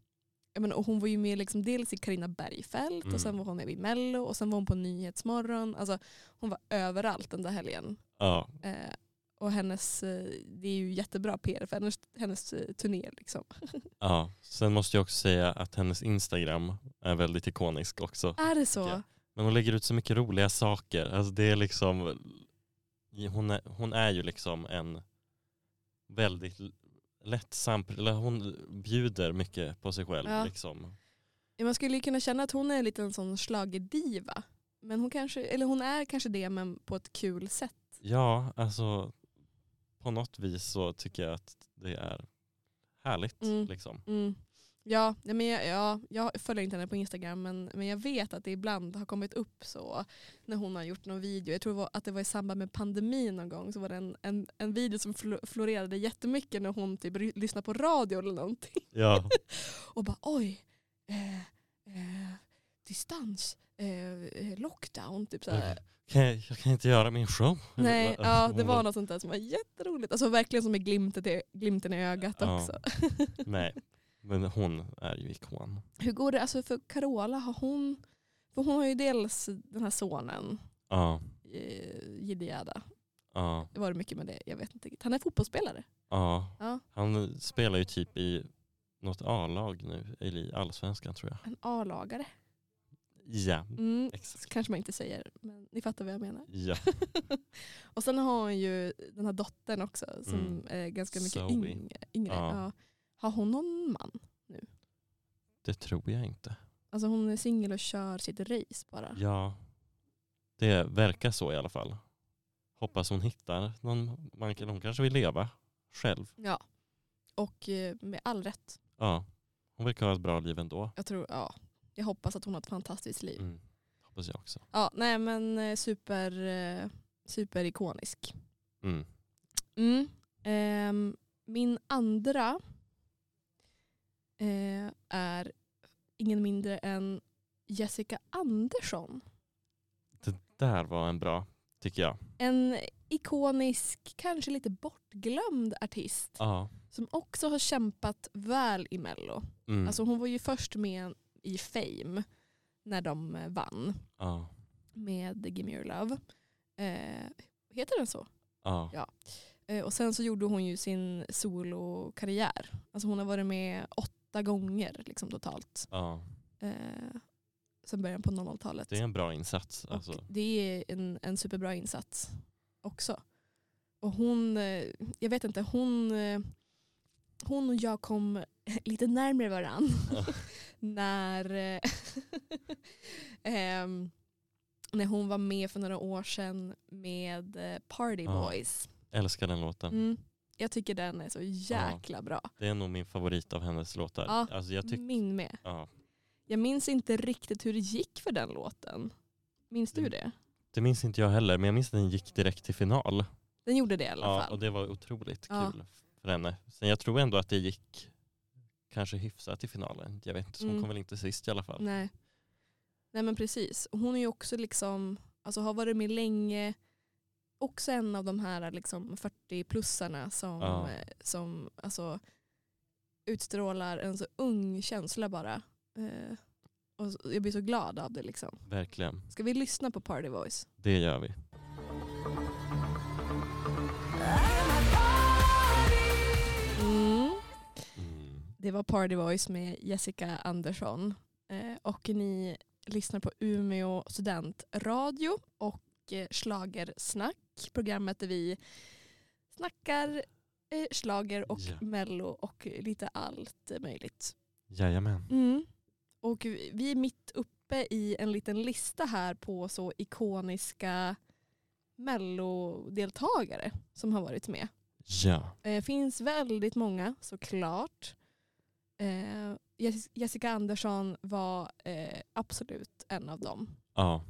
Speaker 1: jag menar, och hon var ju med liksom dels i Carina Bergfeldt
Speaker 2: Mm.
Speaker 1: och sen var hon med i Mello och sen var hon på Nyhetsmorgon. Alltså, hon var överallt den där helgen.
Speaker 2: ja,
Speaker 1: Eh, och hennes, eh, det är ju jättebra PR för hennes, hennes eh, turné. Liksom.
Speaker 2: ja. Sen måste jag också säga att hennes Instagram är väldigt ikonisk också.
Speaker 1: Är det så?
Speaker 2: Ja. Men hon lägger ut så mycket roliga saker. Alltså det är liksom, hon är, hon är ju liksom en väldigt l- lättsam, eller hon bjuder mycket på sig själv.
Speaker 1: Ja.
Speaker 2: Liksom.
Speaker 1: Ja, Man skulle ju kunna känna att hon är en liten sån schlagerdiva. Men hon, kanske, eller hon är kanske det men på ett kul sätt.
Speaker 2: Ja, alltså på något vis så tycker jag att det är härligt.
Speaker 1: Mm.
Speaker 2: Liksom.
Speaker 1: Mm. Ja, ja, men jag, ja, jag följer inte henne på Instagram men, men jag vet att det ibland har kommit upp så när hon har gjort någon video. Jag tror det var, att det var i samband med pandemin någon gång så var det en, en, en video som flo- florerade jättemycket när hon typ ry- lyssnade på radio eller någonting.
Speaker 2: Ja.
Speaker 1: Och bara oj, eh, eh, distans, eh, eh, lockdown, typ så här.
Speaker 2: Kan jag, jag kan inte göra min show.
Speaker 1: Nej, ja, det
Speaker 2: Hon
Speaker 1: var något sånt där som var jätteroligt. Alltså verkligen som med glimten i, glimten i ögat
Speaker 2: Ja.
Speaker 1: också.
Speaker 2: Nej, men hon är ju ikon.
Speaker 1: Hur går det alltså för Carola? Har hon, för hon har ju dels den här sonen,
Speaker 2: Ja,
Speaker 1: eh, Jiddiada.
Speaker 2: ja,
Speaker 1: Det var det mycket med det? Jag vet inte. riktigt. Han är fotbollsspelare.
Speaker 2: ja.
Speaker 1: Ja,
Speaker 2: Han spelar ju typ i något A-lag nu, eller i allsvenskan tror jag.
Speaker 1: en A-lagare.
Speaker 2: Ja,
Speaker 1: Mm,
Speaker 2: exakt.
Speaker 1: så kanske man inte säger, men ni fattar vad jag menar.
Speaker 2: Ja,
Speaker 1: Och sen har hon ju den här dottern också som
Speaker 2: Mm.
Speaker 1: är ganska mycket
Speaker 2: Zoe.
Speaker 1: yng- yngre.
Speaker 2: Ja.
Speaker 1: Ja. Har hon någon man?
Speaker 2: det tror jag inte.
Speaker 1: Alltså hon är singel och kör sitt race bara.
Speaker 2: Ja, det verkar så i alla fall. Hoppas hon hittar någon man kan, hon kanske vill leva själv.
Speaker 1: Ja. Och eh, med all rätt.
Speaker 2: Ja, hon verkar ha ett bra liv ändå.
Speaker 1: Jag tror, ja. Jag hoppas att hon har ett fantastiskt liv.
Speaker 2: Mm. Hoppas jag också.
Speaker 1: Ja, nej men eh, super, eh, superikonisk.
Speaker 2: Mm.
Speaker 1: Mm. Ehm, min andra eh, är ingen mindre än Jessica Andersson.
Speaker 2: Där var en bra, tycker jag.
Speaker 1: En ikonisk, kanske lite bortglömd artist
Speaker 2: Ja.
Speaker 1: som också har kämpat väl i Mello.
Speaker 2: Mm.
Speaker 1: Alltså hon var ju först med i Fame när de eh, vann
Speaker 2: ja.
Speaker 1: med Gimme Your Love. Eh, heter den så?
Speaker 2: Ja.
Speaker 1: Ja. Eh, och sen så gjorde hon ju sin solokarriär. Alltså hon har varit med åtta gånger liksom totalt.
Speaker 2: ja.
Speaker 1: Eh, sen början på 00-talet.
Speaker 2: Det är en bra insats.
Speaker 1: Och
Speaker 2: Alltså.
Speaker 1: det är en, en superbra insats också. Och hon, eh, jag vet inte, hon, eh, hon och jag kom lite närmare varann.
Speaker 2: Ja.
Speaker 1: när, eh, ehm, när hon var med för några år sedan med eh, Party
Speaker 2: Ja.
Speaker 1: Boys.
Speaker 2: Älskar den låten.
Speaker 1: Mm. Jag tycker den är så jäkla bra.
Speaker 2: Det är nog min favorit av hennes låtar.
Speaker 1: Ja.
Speaker 2: Alltså jag tyck-
Speaker 1: Min med.
Speaker 2: ja.
Speaker 1: Jag minns inte riktigt hur det gick för den låten. Minns du
Speaker 2: Mm.
Speaker 1: det?
Speaker 2: Det minns inte jag heller, men jag minns att den gick direkt till final.
Speaker 1: Den gjorde det i alla
Speaker 2: Ja,
Speaker 1: fall.
Speaker 2: och det var otroligt
Speaker 1: Ja.
Speaker 2: kul för henne. Sen jag tror ändå att det gick kanske hyfsat i finalen. Jag vet inte, hon
Speaker 1: Mm.
Speaker 2: kom väl inte sist i alla fall.
Speaker 1: Nej. Nej men precis. Och Hon är ju också liksom, alltså har varit med länge. Också en av de här liksom 40-plussarna som,
Speaker 2: Ja.
Speaker 1: eh, som alltså, utstrålar en så ung känsla bara. Eh, och så- jag blir så glad av det liksom.
Speaker 2: Verkligen.
Speaker 1: Ska vi lyssna på Party Voice?
Speaker 2: Det gör vi.
Speaker 1: Mm. Det var Party Voice med Jessica Andersson. Eh, och ni lyssnar på Umeå studentradio och eh, Schlagersnack. Programmet där vi snackar eh, schlager och
Speaker 2: Ja.
Speaker 1: mello och lite allt möjligt.
Speaker 2: Jajamän.
Speaker 1: Mm. Och vi vi är mitt uppe i en liten lista här på så ikoniska mellodeltagare som har varit med.
Speaker 2: Ja.
Speaker 1: Eh, finns väldigt många såklart. Eh, Jes- Jessica Andersson var eh, absolut en av dem.
Speaker 2: ja.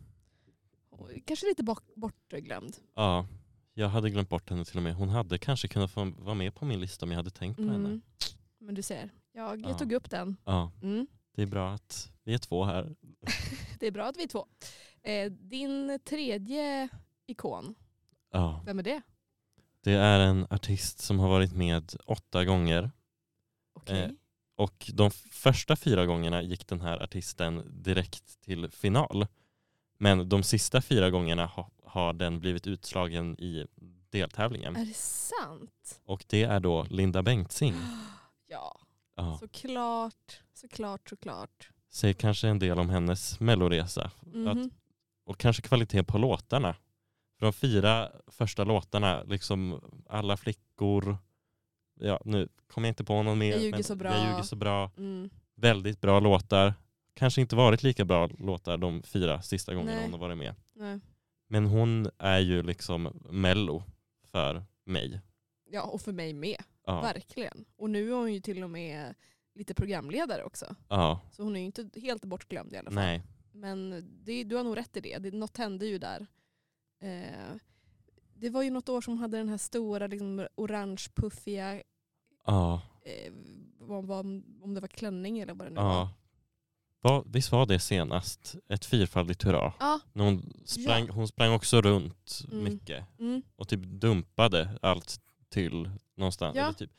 Speaker 1: Och Kanske lite bak- bortglömd.
Speaker 2: Ja. Jag hade glömt bort henne till och med. Hon hade kanske kunnat få vara med på min lista om jag hade tänkt på henne.
Speaker 1: Mm. Men du ser, jag, jag
Speaker 2: Ja.
Speaker 1: tog upp den.
Speaker 2: Ja.
Speaker 1: Mm.
Speaker 2: Det är bra att vi är två här.
Speaker 1: Det är bra att vi är två. Eh, din tredje ikon,
Speaker 2: Ja.
Speaker 1: vem är det?
Speaker 2: Det är en artist som har varit med åtta gånger
Speaker 1: Okej.
Speaker 2: Eh, och de f- första fyra gångerna gick den här artisten direkt till final. Men de sista fyra gångerna ha, har den blivit utslagen i deltävlingen
Speaker 1: Eh, Är det sant?
Speaker 2: och det är då Linda Bengtzing.
Speaker 1: Ja,
Speaker 2: Ja.
Speaker 1: såklart, såklart, såklart.
Speaker 2: Säger kanske en del om hennes melloresa
Speaker 1: Mhm.
Speaker 2: och kanske kvaliteten på låtarna. För de fyra första låtarna, liksom Alla flickor, ja nu kommer jag inte på någon mer.
Speaker 1: Jag ljuger
Speaker 2: men
Speaker 1: så bra.
Speaker 2: Jag ljuger så bra.
Speaker 1: Mm.
Speaker 2: väldigt bra låtar. Kanske inte varit lika bra låtar de fyra sista gångerna
Speaker 1: Nej.
Speaker 2: hon har varit med.
Speaker 1: Nej.
Speaker 2: Men hon är ju liksom mello för mig.
Speaker 1: Ja, och för mig med.
Speaker 2: Ja,
Speaker 1: Verkligen. Och nu är hon ju till och med lite programledare också.
Speaker 2: ja
Speaker 1: Så hon är ju inte helt bortglömd i alla fall.
Speaker 2: nej.
Speaker 1: Men det, du har nog rätt i det. det. Något hände ju där. Eh, det var ju något år som hon hade den här stora liksom, orange puffiga,
Speaker 2: Ja,
Speaker 1: eh, vad, vad, om det var klänning eller vad det nu var.
Speaker 2: ja. Va, visst var det senast ett fyrfaldigt hurra?
Speaker 1: Ja,
Speaker 2: När hon, sprang, hon sprang också runt
Speaker 1: Mm.
Speaker 2: mycket
Speaker 1: mm,
Speaker 2: och typ dumpade allt till någonstans.
Speaker 1: Ja.
Speaker 2: Eller typ,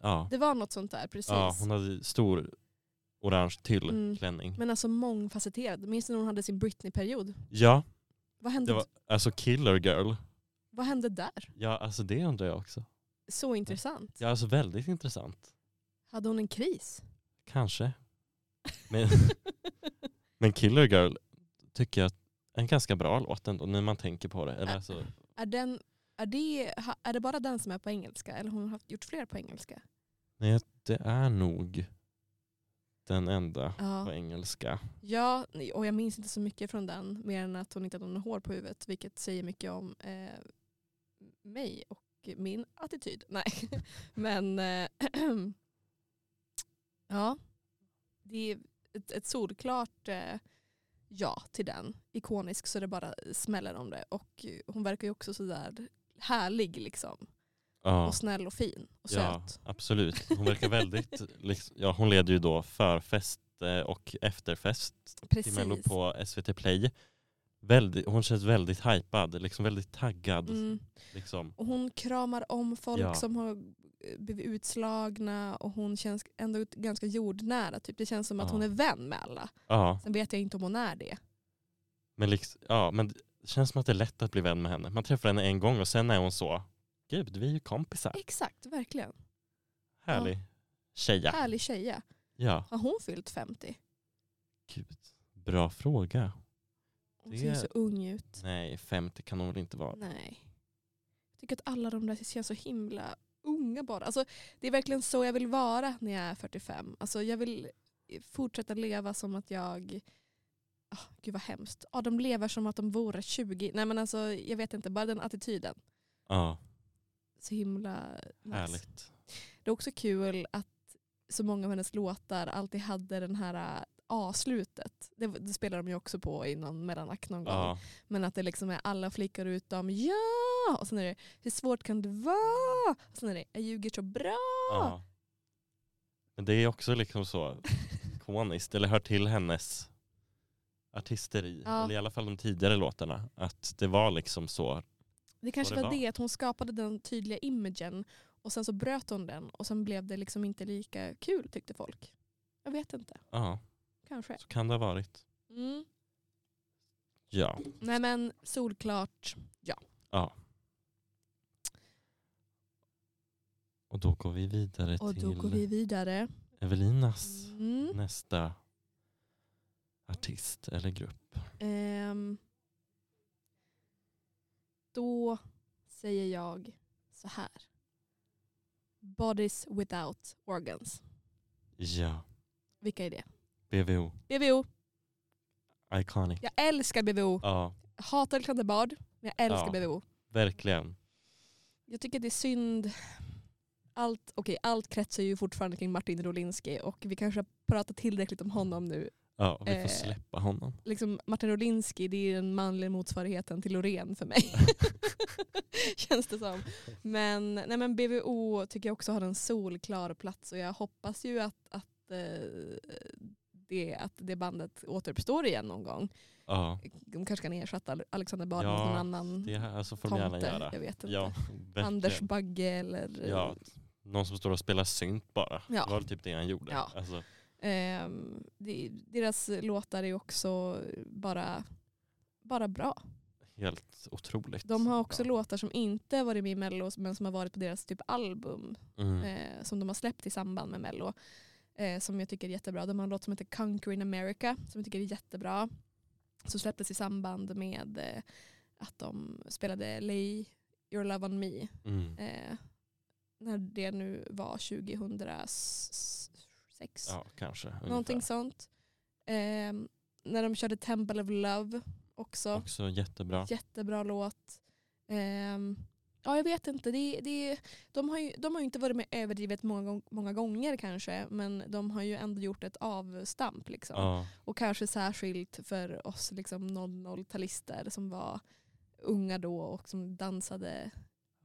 Speaker 2: ja.
Speaker 1: det var något sånt där, precis.
Speaker 2: ja, hon hade stor orange till
Speaker 1: Mm.
Speaker 2: klänning.
Speaker 1: Men alltså mångfacetterad. Minns ni när hon hade sin Britney-period?
Speaker 2: Ja,
Speaker 1: Vad hände,
Speaker 2: det var alltså killer girl.
Speaker 1: vad hände där?
Speaker 2: Ja, alltså det undrar jag också.
Speaker 1: Så intressant.
Speaker 2: Ja, alltså väldigt intressant.
Speaker 1: Hade hon en kris?
Speaker 2: Kanske. Men Men Killer Girl tycker jag är en ganska bra låt ändå när man tänker på det. Eller alltså,
Speaker 1: Är, den, är, det, ha- är det bara den som är på engelska eller har hon haft, gjort fler på engelska?
Speaker 2: nej, det är nog den enda på
Speaker 1: Ja.
Speaker 2: engelska.
Speaker 1: ja, och jag minns inte så mycket från den mer än att hon inte hade något hår på huvudet vilket säger mycket om eh, mig och min attityd. Nej, men eh, ja, det är ett, ett solklart eh, ja till den. Ikonisk så det bara smäller om det och hon verkar ju också sådär härlig liksom.
Speaker 2: Ja,
Speaker 1: och snäll och fin och
Speaker 2: ja
Speaker 1: söt.
Speaker 2: absolut. Hon verkar väldigt, liksom, ja, hon leder ju då förfest eh, och efterfest till
Speaker 1: Precis.
Speaker 2: Mello på SVT Play. Väldigt, hon känns väldigt hypad, liksom väldigt taggad.
Speaker 1: Mm.
Speaker 2: Liksom.
Speaker 1: Och hon kramar om folk
Speaker 2: Ja.
Speaker 1: som har eh, blivit utslagna och hon känns ändå ut- ganska jordnära. Typ. Det känns som att
Speaker 2: Ja.
Speaker 1: hon är vän med alla.
Speaker 2: Ja,
Speaker 1: Sen vet jag inte om hon är det.
Speaker 2: men, liksom, ja, men det känns som att det är lätt att bli vän med henne. Man träffar henne en gång och sen är hon så, gud vi är ju kompisar.
Speaker 1: Exakt, verkligen.
Speaker 2: Härlig tjeja.
Speaker 1: Härlig tjeja.
Speaker 2: Ja,
Speaker 1: Har hon fyllt 50?
Speaker 2: gud. Bra fråga.
Speaker 1: Hon
Speaker 2: Det-
Speaker 1: ser ju så ung ut.
Speaker 2: Nej, 50 kan hon väl inte vara.
Speaker 1: Nej. Jag tycker att alla de där känns så himla unga bara. Alltså, det är verkligen så jag vill vara när jag är 45. Alltså, jag vill fortsätta leva som att jag... Ah, gud vad hemskt. Ja, de lever som att de vore 20. Nej men alltså jag vet inte, bara den attityden.
Speaker 2: Ja,
Speaker 1: Så himla nice.
Speaker 2: härligt.
Speaker 1: Det är också kul att så många av hennes låtar alltid hade den här äh, A-slutet. Det, det spelar de ju också på i någon mellanakt någon gång.
Speaker 2: Ja,
Speaker 1: Men att det liksom är alla flickor utom ja och sen är det hur svårt kan det vara? Och sen är det jag ljuger så bra.
Speaker 2: ja. Men det är också liksom så ikoniskt, eller hör till hennes artisteri,
Speaker 1: Ja.
Speaker 2: eller i alla fall de tidigare låtarna, att det var liksom så.
Speaker 1: Det kanske
Speaker 2: det
Speaker 1: var
Speaker 2: var.
Speaker 1: det att hon skapade den tydliga imagen och sen så bröt hon den och sen blev det liksom inte lika kul tyckte folk. Jag vet inte,
Speaker 2: Ja,
Speaker 1: kanske.
Speaker 2: så kan det ha varit.
Speaker 1: Mm.
Speaker 2: Ja,
Speaker 1: Nej men solklart.
Speaker 2: och då går vi vidare
Speaker 1: Och
Speaker 2: till
Speaker 1: då går vi vidare.
Speaker 2: Evelinas
Speaker 1: Mm.
Speaker 2: nästa artist eller grupp.
Speaker 1: Ehm. Då säger jag så här. Bodies without organs.
Speaker 2: Ja,
Speaker 1: Vilka är det?
Speaker 2: BVO,
Speaker 1: BVO.
Speaker 2: Iconic.
Speaker 1: Jag älskar BVO.
Speaker 2: Ja,
Speaker 1: Hatar Klandebard, men jag älskar
Speaker 2: Ja.
Speaker 1: BVO.
Speaker 2: verkligen.
Speaker 1: Jag tycker det är synd. Allt, okej, allt kretsar ju fortfarande kring Martin Rolinski och vi kanske har pratat tillräckligt om honom nu.
Speaker 2: Ja, vi
Speaker 1: Eh.
Speaker 2: får släppa honom.
Speaker 1: Liksom, Martin Rolinski det är den manliga motsvarigheten till Loreen för mig. Känns det som. Men, nej men BVO tycker jag också har en solklar plats och jag hoppas ju att, att, eh, det, att det bandet återuppstår igen någon gång.
Speaker 2: Ja,
Speaker 1: De kanske kan ersätta Alexander Bard med
Speaker 2: Ja,
Speaker 1: någon annan
Speaker 2: det här så får de gärna göra.
Speaker 1: Jag vet inte.
Speaker 2: Ja, verkligen.
Speaker 1: Anders Bagge eller...
Speaker 2: Ja, någon som står och spelar synt bara.
Speaker 1: Ja.
Speaker 2: Det var typ det han gjorde.
Speaker 1: Ja.
Speaker 2: Alltså,
Speaker 1: Ehm, det- deras låtar är också bara, bara bra.
Speaker 2: helt otroligt.
Speaker 1: De har också
Speaker 2: bra.
Speaker 1: låtar som inte varit med i Mello men som har varit på deras typ album
Speaker 2: Mm.
Speaker 1: eh, som de har släppt i samband med Mello. Eh, som jag tycker är jättebra. De har en låt som heter Conquer in America som jag tycker är jättebra. Som släpptes i samband med eh, att de spelade Lay Your Love On Me
Speaker 2: Mm.
Speaker 1: eh, när det nu var 2006.
Speaker 2: Ja, kanske. ungefär.
Speaker 1: någonting sånt. Eh, när de körde Temple of Love också.
Speaker 2: Också jättebra.
Speaker 1: Jättebra låt. Eh, ja, jag vet inte. Det, det, de, har ju, de har ju inte varit med överdrivet många, gång- många gånger kanske, men de har ju ändå gjort ett avstamp. Liksom.
Speaker 2: Ja,
Speaker 1: Och kanske särskilt för oss liksom 00-talister som var unga då och som dansade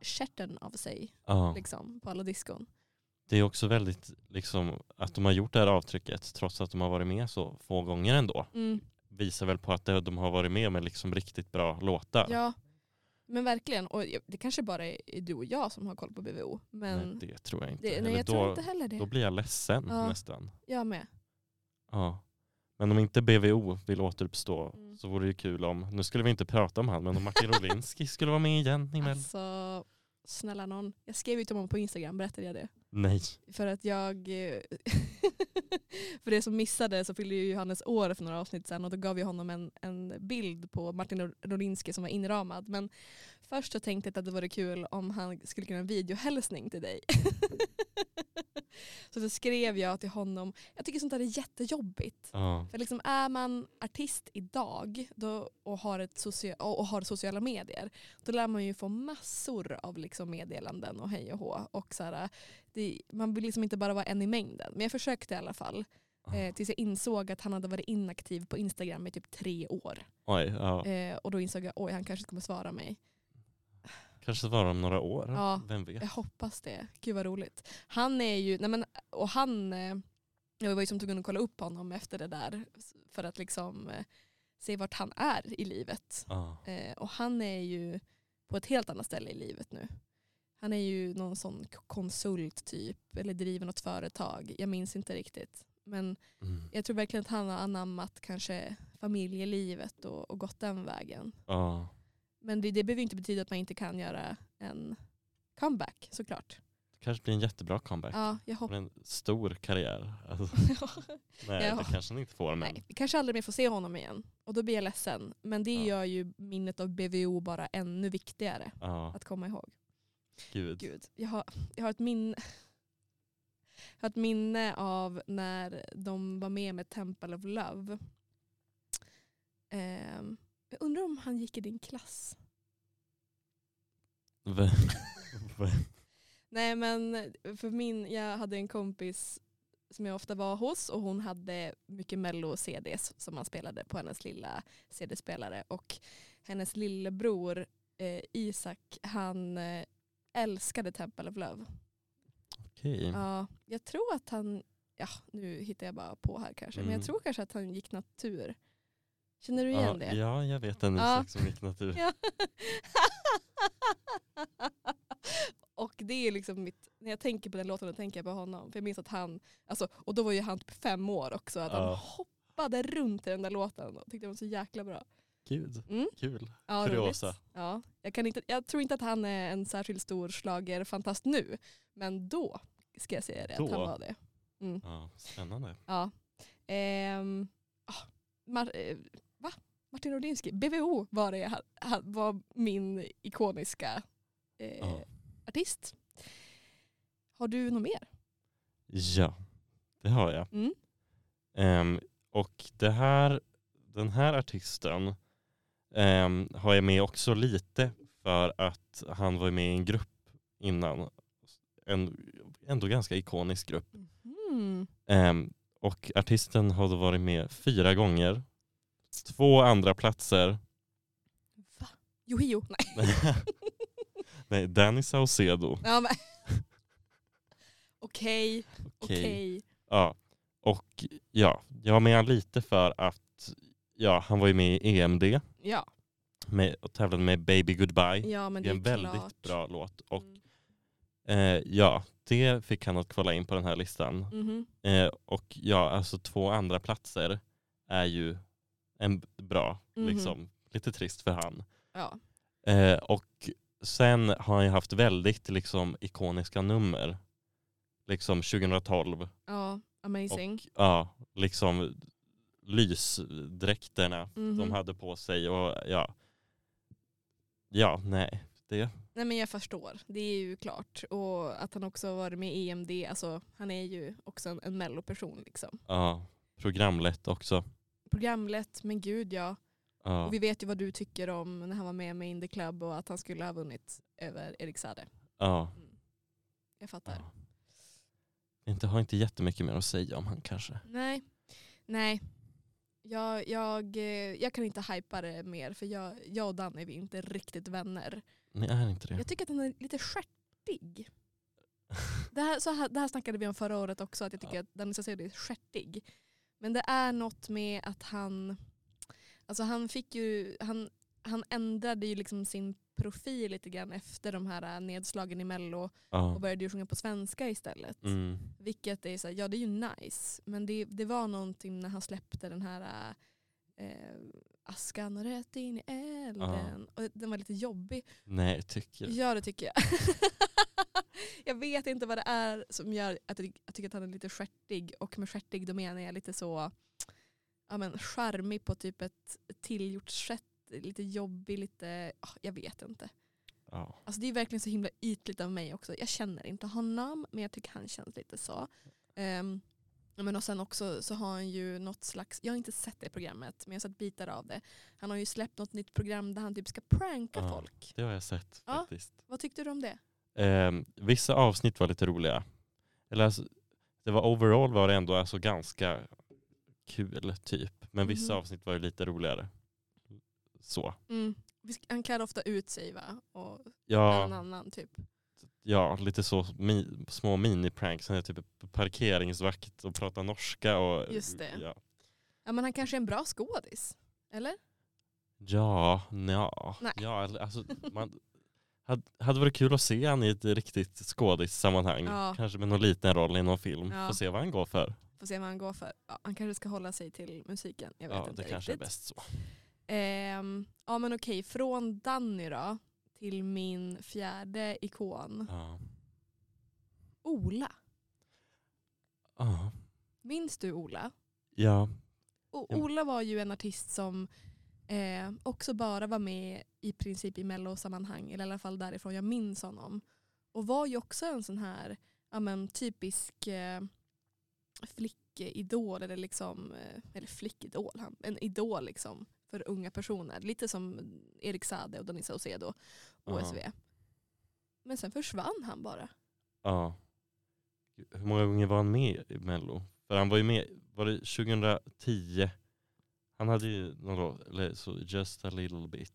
Speaker 1: stjärten av sig
Speaker 2: ja.
Speaker 1: liksom, på alla diskon.
Speaker 2: Det är också väldigt liksom, att de har gjort det här avtrycket trots att de har varit med så få gånger ändå.
Speaker 1: Mm,
Speaker 2: Visar väl på att det- de har varit med med liksom riktigt bra låtar.
Speaker 1: Ja, men verkligen. Och jag- det kanske bara är du och jag som har koll på BVO. Men
Speaker 2: Nej, det tror jag inte.
Speaker 1: det, nej,
Speaker 2: Eller
Speaker 1: jag
Speaker 2: då,
Speaker 1: tror inte heller det.
Speaker 2: då blir jag ledsen
Speaker 1: Ja.
Speaker 2: nästan.
Speaker 1: Jag med.
Speaker 2: Ja. Men om inte BVO vill återuppstå
Speaker 1: Mm.
Speaker 2: så vore det ju kul om, nu skulle vi inte prata om han, men om Martin Rolinski skulle vara med igen i Mello.
Speaker 1: Alltså, snälla någon. Jag skrev ju till honom på Instagram, berättade jag det?
Speaker 2: Nej.
Speaker 1: För att jag... eh, För det som missade så fyllde ju Johannes år för några avsnitt sedan och då gav vi honom en, en bild på Martin Nor- Norinski som var inramad. Men först så tänkte jag att det vore kul om han skulle kunna en videohälsning till dig. så då skrev jag till honom, jag tycker sånt där är jättejobbigt.
Speaker 2: Ja.
Speaker 1: För liksom är man artist idag då, och, har ett socia- och och har sociala medier då lär man ju få massor av liksom meddelanden och hej och hå. Och så här, det, man vill liksom inte bara vara en i mängden. Men jag försökte i alla fall eh, tills jag insåg att han hade varit inaktiv på Instagram i typ tre år.
Speaker 2: Oj, ja.
Speaker 1: Eh, och då insåg jag oj han kanske inte kommer svara mig.
Speaker 2: kanske det var om några år.
Speaker 1: Ja.
Speaker 2: Vem vet?
Speaker 1: Jag hoppas det. Gud vad roligt. Han är ju, nej men, och han, eh, jag var ju som tvungen att kolla upp honom efter det där för att liksom eh, se vart han är i livet.
Speaker 2: Ja.
Speaker 1: Eh, och han är ju på ett helt annat ställe i livet nu. Han är ju någon sån k- konsult typ, eller driver något företag. Jag minns inte riktigt. Men
Speaker 2: Mm.
Speaker 1: jag tror verkligen att han har anammat kanske familjelivet och, och gått den vägen.
Speaker 2: Ja.
Speaker 1: Men det, det behöver ju inte betyda att man inte kan göra en comeback såklart.
Speaker 2: Det kanske blir en jättebra comeback.
Speaker 1: Ja, jag
Speaker 2: Det
Speaker 1: hoppas.
Speaker 2: blir En stor karriär. Alltså, nej,
Speaker 1: Ja.
Speaker 2: det kanske han inte får. Men...
Speaker 1: Nej, vi kanske aldrig mer får se honom igen. Och då blir jag ledsen. Men det
Speaker 2: Ja.
Speaker 1: gör ju minnet av BVO bara ännu viktigare
Speaker 2: Ja,
Speaker 1: att komma ihåg.
Speaker 2: gud.
Speaker 1: Gud, jag har, jag har ett minne. Jag har ett minne av när de var med med Temple of Love. Ehm, jag undrar om han gick i din klass.
Speaker 2: Vem? Vem?
Speaker 1: Nej men eh, för min, jag hade en kompis som jag ofta var hos och hon hade mycket mello-CDs som man spelade på hennes lilla CD-spelare och hennes lillebror eh, Isak han eh, älskade Temple of Love.
Speaker 2: Mhm. Okej.
Speaker 1: Ja, jag tror att han, ja nu hittar jag bara på här kanske, men
Speaker 2: Mm.
Speaker 1: jag tror kanske att han gick natur. Känner du igen
Speaker 2: Ja,
Speaker 1: det?
Speaker 2: ja, jag vet en
Speaker 1: Ja.
Speaker 2: Isak som gick natur.
Speaker 1: Ja. och det är liksom mitt, när jag tänker på den låten då tänker jag på honom. För jag minns att han, alltså, och då var ju han typ fem år också, att han
Speaker 2: Ja.
Speaker 1: hoppade runt i den där låten och tyckte den var så jäkla bra.
Speaker 2: Gud,
Speaker 1: Mm.
Speaker 2: kul.
Speaker 1: Ja,
Speaker 2: Kuriosa.
Speaker 1: roligt. Ja, jag, kan inte, jag tror inte att han är en särskilt stor schlagerfantast nu, men då ska jag säga det,
Speaker 2: Då?
Speaker 1: att han var det. Mm.
Speaker 2: Ja, spännande.
Speaker 1: Ja. Ehm, ah, Mar- eh, va? Martin Rodinski, BVO var, det, han, han var min ikoniska eh,
Speaker 2: Ja.
Speaker 1: artist. Har du något mer?
Speaker 2: ja, det har jag.
Speaker 1: Mm.
Speaker 2: Ehm, och det här, den här artisten ehm, har jag med också lite för att han var med i en grupp innan. En ändå ganska ikonisk grupp.
Speaker 1: Mhm.
Speaker 2: Ehm, och artisten har då varit med fyra gånger. Två andra platser.
Speaker 1: Va? Johio? Nej.
Speaker 2: Nej, Danny Saucedo.
Speaker 1: Ja, men- Okej, okej.
Speaker 2: Ja. Och ja, jag har med han lite för att ja, han var ju med i EMD
Speaker 1: Ja.
Speaker 2: med, och tävlade med Baby Goodbye.
Speaker 1: ja, men
Speaker 2: det
Speaker 1: det
Speaker 2: är
Speaker 1: är
Speaker 2: en väldigt
Speaker 1: klart.
Speaker 2: bra låt. Och
Speaker 1: Mm.
Speaker 2: eh, ja, det fick han att kvala in på den här listan.
Speaker 1: Mhm.
Speaker 2: Eh, och ja, alltså två andra platser är ju en b- bra,
Speaker 1: Mhm.
Speaker 2: liksom. Lite trist för han.
Speaker 1: Ja.
Speaker 2: Eh, och sen har han ju haft väldigt liksom, ikoniska nummer. Liksom
Speaker 1: Mm.
Speaker 2: 2012.
Speaker 1: ja, amazing.
Speaker 2: Och ja, liksom lysdräkterna
Speaker 1: Mhm.
Speaker 2: de hade på sig. Och ja, ja nej. Det,
Speaker 1: Nej men jag förstår, det är ju klart. Och att han också har varit med i EMD, alltså han är ju också en, en melloperson liksom.
Speaker 2: ja, programlett också.
Speaker 1: Programlett, men gud ja.
Speaker 2: Ja,
Speaker 1: Och vi vet ju vad du tycker om när han var med med In the Club och att han skulle ha vunnit över Erik Saade.
Speaker 2: ja,
Speaker 1: Mm. Jag
Speaker 2: ja.
Speaker 1: fattar.
Speaker 2: Inte, har inte jättemycket mer att säga om han kanske.
Speaker 1: Nej, nej. Jag, jag, eh, jag kan inte hypa det mer för jag, jag och Dan är vi inte riktigt vänner.
Speaker 2: Ni är inte det.
Speaker 1: Jag tycker att han är lite stjärtig. Det här, så här, det här snackade vi om förra året också, att jag tycker att Danny Saucedo är stjärtig. Men det är något med att han, alltså han fick ju, han, han ändrade ju liksom sin profil lite grann efter de här äh, nedslagen i mello och
Speaker 2: Ja.
Speaker 1: började ju sjunga på svenska istället.
Speaker 2: Mm.
Speaker 1: Vilket är så här, ja det är ju nice, men det, det var någonting när han släppte den här äh, eh, Askan och röt in i elden. Och den var lite jobbig.
Speaker 2: Nej, tycker
Speaker 1: Ja det tycker jag. jag vet inte vad det är som gör att jag tycker att han är lite skärtig. Och med skärtig då menar jag lite så ja, men, charmig på typ ett tillgjort sätt. Lite jobbig, lite, ah, jag vet inte.
Speaker 2: Ja.
Speaker 1: Alltså det är verkligen så himla ytligt av mig också. Jag känner inte honom men jag tycker han känns lite så. Ehm, men och sen också så har han ju något slags, jag har inte sett det programmet men jag har sett bitar av det. Han har ju släppt något nytt program där han typ ska pranka
Speaker 2: Ja.
Speaker 1: folk.
Speaker 2: Det har jag sett
Speaker 1: Ja.
Speaker 2: faktiskt.
Speaker 1: Vad tyckte du om det?
Speaker 2: Ehm, vissa avsnitt var lite roliga. Eller alltså, det var overall var det ändå alltså ganska kul typ. Men vissa
Speaker 1: Mhm.
Speaker 2: avsnitt var ju lite roligare. Så.
Speaker 1: Mm. Vi sk- Han klär ofta ut sig va? Och
Speaker 2: Ja,
Speaker 1: en annan typ.
Speaker 2: ja lite så mi, små minipranks. Han är typ parkeringsvakt och pratar norska. Och,
Speaker 1: Just det.
Speaker 2: Ja,
Speaker 1: Ja men han kanske är en bra skådis. Eller?
Speaker 2: ja, nja.
Speaker 1: Nej.
Speaker 2: ja eller, alltså, man hade, hade varit kul att se han i ett riktigt skådissammanhang.
Speaker 1: Ja.
Speaker 2: Kanske med någon liten roll i någon film.
Speaker 1: Ja.
Speaker 2: Får se vad han går för.
Speaker 1: Får se vad han går för. Ja, han kanske ska hålla sig till musiken. Jag vet
Speaker 2: Ja, det
Speaker 1: inte
Speaker 2: kanske är
Speaker 1: riktigt.
Speaker 2: bäst så.
Speaker 1: Ehm, ja men okej, från Danny då till min fjärde ikon.
Speaker 2: Ja.
Speaker 1: Ola.
Speaker 2: Ja.
Speaker 1: Minns du Ola?
Speaker 2: Ja,
Speaker 1: O-
Speaker 2: Ja.
Speaker 1: Ola var ju en artist som eh, också bara var med i princip i mellosammanhang, eller i alla fall därifrån jag minns honom. Och var ju också en sån här ja, men, typisk eh, flickidol, eller, liksom, eh, eller flickidol, han, en idol liksom för unga personer. Lite som Erik Sade och Donny Saucedo,
Speaker 2: Ja.
Speaker 1: OSV. Men sen försvann han bara.
Speaker 2: Ja. Hur många gånger var han med i Mello? För han var ju med, var det 2010? Han hade ju någon låt, eller så Just a little bit,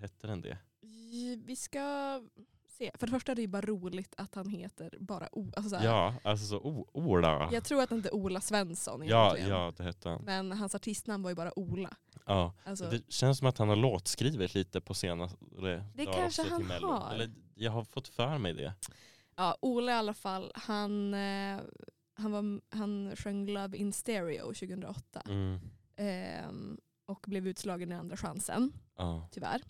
Speaker 2: hette den det?
Speaker 1: J- Vi ska se. För det första är det ju bara roligt att han heter bara O. Alltså så här,
Speaker 2: Ja, alltså så O- Ola.
Speaker 1: Jag tror att han inte Ola Svensson
Speaker 2: Ja,
Speaker 1: egentligen.
Speaker 2: ja, det hette han.
Speaker 1: Men hans artistnamn var ju bara Ola.
Speaker 2: Ja.
Speaker 1: Alltså,
Speaker 2: Det känns som att han har låtskrivit lite på senare
Speaker 1: Det
Speaker 2: dagar
Speaker 1: kanske
Speaker 2: också
Speaker 1: han
Speaker 2: till Mello.
Speaker 1: har.
Speaker 2: Eller, jag har fått för mig det.
Speaker 1: ja, Ola i alla fall, han, eh, han, var, han sjöng Love in Stereo 2008.
Speaker 2: Mm.
Speaker 1: Ehm, och blev utslagen i Andra chansen,
Speaker 2: Ja.
Speaker 1: tyvärr.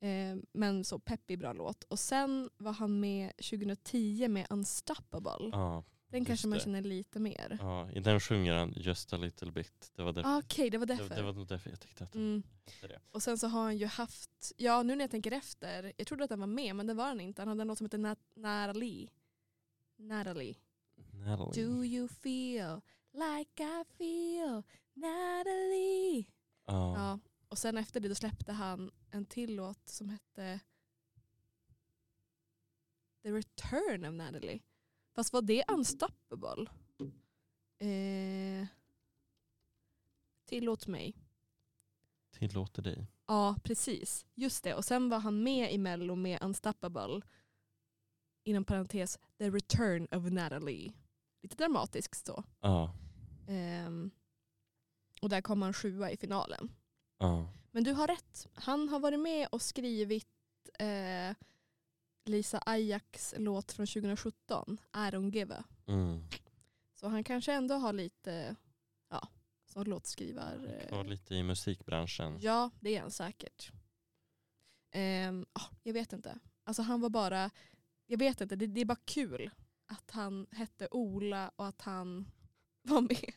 Speaker 1: Ehm, men så peppig bra låt. Och sen var han med 2010 med Unstoppable.
Speaker 2: Ja.
Speaker 1: Den kanske man
Speaker 2: det.
Speaker 1: känner lite mer.
Speaker 2: ja, i den sjunger han Just a little bit. Det var därför,
Speaker 1: Ah, Okej, det var
Speaker 2: det,
Speaker 1: därför.
Speaker 2: det var nog därför jag tyckte att
Speaker 1: Mm.
Speaker 2: hette det.
Speaker 1: Och sen så har han ju haft, ja nu när jag tänker efter, jag trodde att han var med men det var han inte. Han hade en låt som hette Na- Natalie. Natalie.
Speaker 2: Natalie.
Speaker 1: Do you feel like I feel Natalie.
Speaker 2: Ja.
Speaker 1: Ja. Och sen efter det då släppte han en till låt som hette The Return of Natalie. Fast var det Unstoppable? Eh, tillåt mig.
Speaker 2: Tillåter dig.
Speaker 1: Ja, precis. Just det. Och sen var han med i Mello med Unstoppable. Inom parentes, The Return of Natalie. Lite dramatiskt så.
Speaker 2: Ja.
Speaker 1: Ehm, och där kom han sjua i finalen.
Speaker 2: Ja.
Speaker 1: Men du har rätt. Han har varit med och skrivit eh, Lisa Ajaks låt från 2017, I don't give a.
Speaker 2: Mm.
Speaker 1: Så han kanske ändå har lite, ja, som eh, låtskrivare.
Speaker 2: Kvar lite i musikbranschen.
Speaker 1: Ja, det är han säkert. Ehm, ah, jag vet inte. Alltså han var bara, jag vet inte, det, det är bara kul att han hette Ola och att han var med.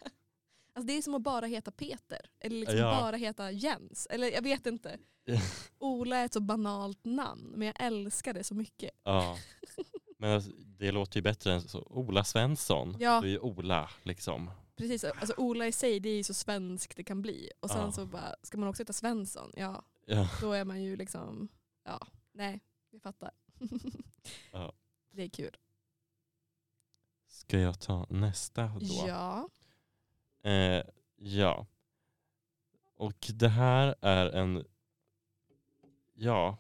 Speaker 1: Alltså det är som att bara heta Peter, eller liksom
Speaker 2: Ja.
Speaker 1: bara heta Jens. Eller jag vet inte. Ola är ett så banalt namn, men jag älskar det så mycket.
Speaker 2: Ja. Men alltså, det låter ju bättre än så. Ola Svensson.
Speaker 1: Ja.
Speaker 2: Du är ju Ola liksom.
Speaker 1: Precis, alltså Ola i sig det är ju så svenskt det kan bli. Och sen
Speaker 2: Ja.
Speaker 1: så bara, ska man också heta Svensson? Ja,
Speaker 2: Ja.
Speaker 1: då är man ju liksom, ja, nej, vi fattar.
Speaker 2: Ja.
Speaker 1: Det är kul.
Speaker 2: Ska jag ta nästa då?
Speaker 1: Ja.
Speaker 2: Eh, ja. Och det här är en, ja,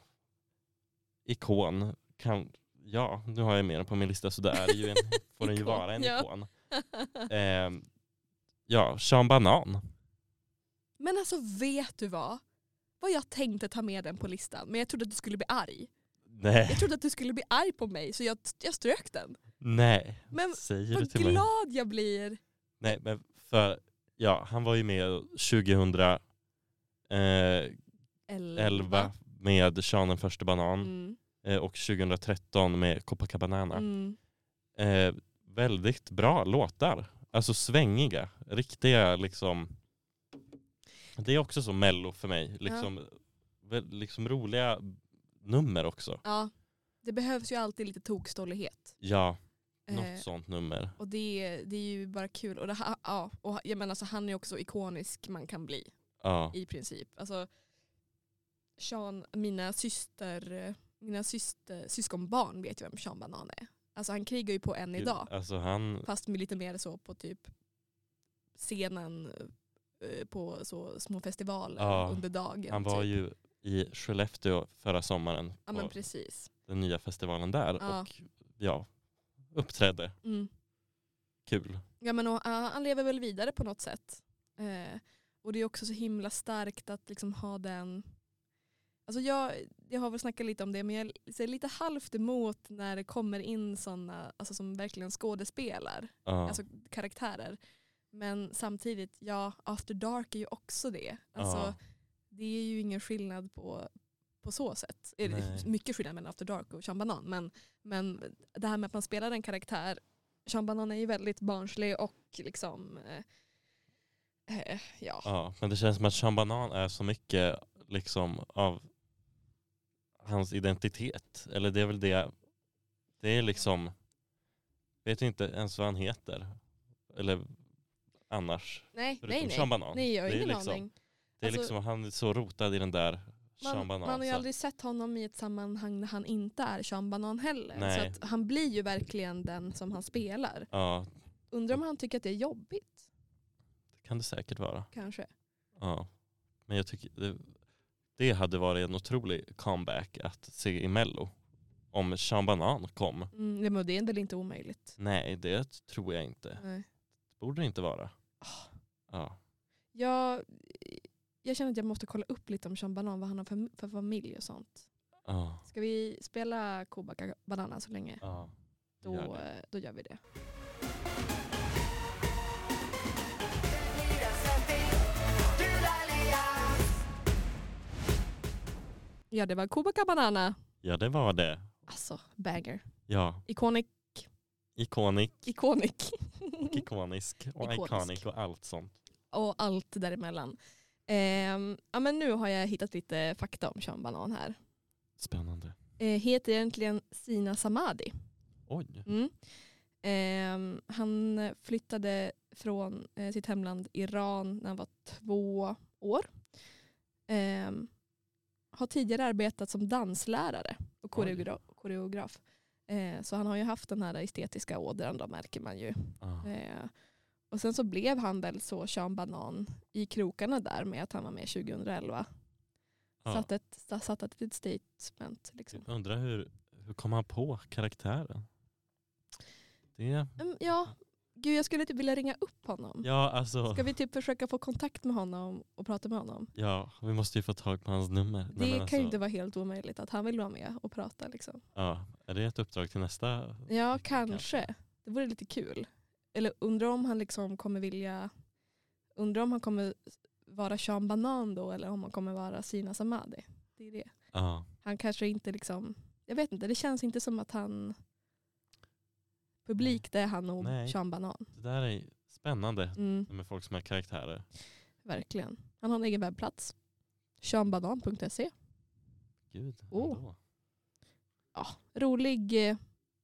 Speaker 2: ikon. Kan, ja, nu har jag med den på min lista så det är ju en, får den ju
Speaker 1: Ikon,
Speaker 2: vara en
Speaker 1: ja.
Speaker 2: ikon. Eh, ja, Sean Banan.
Speaker 1: Men alltså vet du vad? Vad jag tänkte ta med den på listan, men jag trodde att du skulle bli arg.
Speaker 2: Nej,
Speaker 1: Jag trodde att du skulle bli arg på mig så jag, jag strök den.
Speaker 2: nej.
Speaker 1: Men
Speaker 2: Säger du
Speaker 1: vad
Speaker 2: till mig?
Speaker 1: glad jag blir.
Speaker 2: Nej, men för, ja, han var ju med 2011
Speaker 1: Elva.
Speaker 2: med Sean den första banan
Speaker 1: Mm.
Speaker 2: eh, och 2013 med Copacabana.
Speaker 1: Mm.
Speaker 2: Eh, väldigt bra låtar. Alltså svängiga, riktiga liksom. Det är också så mello för mig. Liksom, väl- liksom roliga nummer också.
Speaker 1: Ja. Det behövs ju alltid lite tokstollighet.
Speaker 2: Ja,
Speaker 1: Eh,
Speaker 2: något sånt nummer.
Speaker 1: och det, det är ju bara kul. Och, det, ha- ja, och jag menar, så han är också ikonisk man kan bli.
Speaker 2: Ja.
Speaker 1: i princip. Alltså, Sean, mina syster, mina syster, syskonbarn vet ju vem Sean Banan är. Alltså han krigar ju på än idag.
Speaker 2: Alltså han,
Speaker 1: Fast med lite mer så på typ scenen eh, på så små festivaler
Speaker 2: Ja,
Speaker 1: under dagen.
Speaker 2: han var
Speaker 1: typ.
Speaker 2: ju i Skellefteå förra sommaren
Speaker 1: Ja men
Speaker 2: på
Speaker 1: precis.
Speaker 2: den nya festivalen där
Speaker 1: Ja.
Speaker 2: och ja, uppträdde.
Speaker 1: Mm.
Speaker 2: Kul.
Speaker 1: Ja, men, och, ja, han lever väl vidare på något sätt. Eh, och det är också så himla starkt att liksom ha den... Alltså jag, jag har väl snackat lite om det men jag ser lite halvt emot när det kommer in sådana alltså som verkligen skådespelar,
Speaker 2: Ja.
Speaker 1: alltså karaktärer. Men samtidigt, ja, After Dark är ju också det. Alltså,
Speaker 2: Ja.
Speaker 1: Det är ju ingen skillnad på, på så sätt. Är
Speaker 2: Nej.
Speaker 1: det mycket skillnad mellan After Dark och Sean Banan. Men, men det här med att man spelar en karaktär. Sean Banan är ju väldigt barnslig och liksom eh, eh, ja.
Speaker 2: Ja, men det känns som att Sean Banan är så mycket liksom av hans identitet. Eller det är väl det. Det är liksom, vet inte ens vad han heter. Eller annars.
Speaker 1: Nej,
Speaker 2: Förutom
Speaker 1: nej, nej.
Speaker 2: Sean Banan.
Speaker 1: Nej, jag har
Speaker 2: det är
Speaker 1: ingen
Speaker 2: liksom,
Speaker 1: aning.
Speaker 2: Det är
Speaker 1: Alltså-
Speaker 2: liksom, han är så rotad i den där Sean
Speaker 1: Man, man
Speaker 2: Banan.
Speaker 1: har ju
Speaker 2: så-
Speaker 1: aldrig sett honom i ett sammanhang när han inte är Sean Banan heller.
Speaker 2: Nej.
Speaker 1: Så att han blir ju verkligen den som han spelar.
Speaker 2: Ja,
Speaker 1: Undrar om han tycker att det är jobbigt
Speaker 2: det kan det säkert vara.
Speaker 1: kanske.
Speaker 2: Ja. Men jag tycker det, det hade varit en otrolig comeback att se i Mello. Om Sean Banan kom.
Speaker 1: Mm, nej, men det är väl inte omöjligt.
Speaker 2: Nej, det tror jag inte.
Speaker 1: Nej.
Speaker 2: Borde det inte vara.
Speaker 1: Ah.
Speaker 2: Ja.
Speaker 1: Jag, jag känner att jag måste kolla upp lite om Sean Banan, vad han har för, för familj och sånt.
Speaker 2: Ja.
Speaker 1: Ska vi spela Kobaka Banana så länge?
Speaker 2: ja.
Speaker 1: Då
Speaker 2: Gör
Speaker 1: gör,
Speaker 2: det.
Speaker 1: då gör vi det. Ja, det var Kobaka Banana.
Speaker 2: ja, det var det.
Speaker 1: Alltså, banger.
Speaker 2: Ja.
Speaker 1: Iconic,
Speaker 2: Ikonik,
Speaker 1: iconic.
Speaker 2: ikonisk och
Speaker 1: Mm. Ikonisk.
Speaker 2: iconic och allt sånt.
Speaker 1: och allt däremellan. Ehm, ja, men nu har jag hittat lite fakta om Sean Banan här.
Speaker 2: Spännande.
Speaker 1: Eh, heter egentligen Sina Samadi.
Speaker 2: Oj.
Speaker 1: Mm. Ehm, han flyttade från eh, sitt hemland Iran när han var två år. Ehm, har tidigare arbetat som danslärare och
Speaker 2: Oj.
Speaker 1: koreograf. koreograf. Eh, så han har ju haft den här estetiska ådran då märker man ju.
Speaker 2: Ja.
Speaker 1: Eh, och sen så blev han väl så Sean Banan i krokarna där med att han var med 2011.
Speaker 2: Ja.
Speaker 1: Satt ett, satt ett litet statement. Liksom.
Speaker 2: Jag Undrar hur, hur kom han på karaktären? Det,
Speaker 1: Mm, ja, gud jag skulle typ vilja ringa upp honom.
Speaker 2: ja, alltså,
Speaker 1: Ska vi typ försöka få kontakt med honom och prata med honom?
Speaker 2: ja, vi måste ju få tag på hans nummer. Nej,
Speaker 1: det
Speaker 2: men
Speaker 1: kan
Speaker 2: alltså,
Speaker 1: ju inte vara helt omöjligt att han vill vara med och prata. Liksom.
Speaker 2: Ja, är det ett uppdrag till nästa?
Speaker 1: Ja,
Speaker 2: kanske.
Speaker 1: kanske. Det vore lite kul. Eller undrar om han liksom kommer vilja, undrar om han kommer vara Sean Banan då eller om han kommer vara Sina Samadi. Det är det.
Speaker 2: Ja.
Speaker 1: Han kanske inte liksom, jag vet inte, det känns inte som att han, publikt är han nog
Speaker 2: Nej.
Speaker 1: Sean Banan.
Speaker 2: Det där är spännande
Speaker 1: Mm.
Speaker 2: med folk som är karaktärer.
Speaker 1: Verkligen. Han har en egen webbplats. Seanbanan.se.
Speaker 2: Gud,
Speaker 1: Oh.
Speaker 2: ändå.
Speaker 1: Rolig, eh,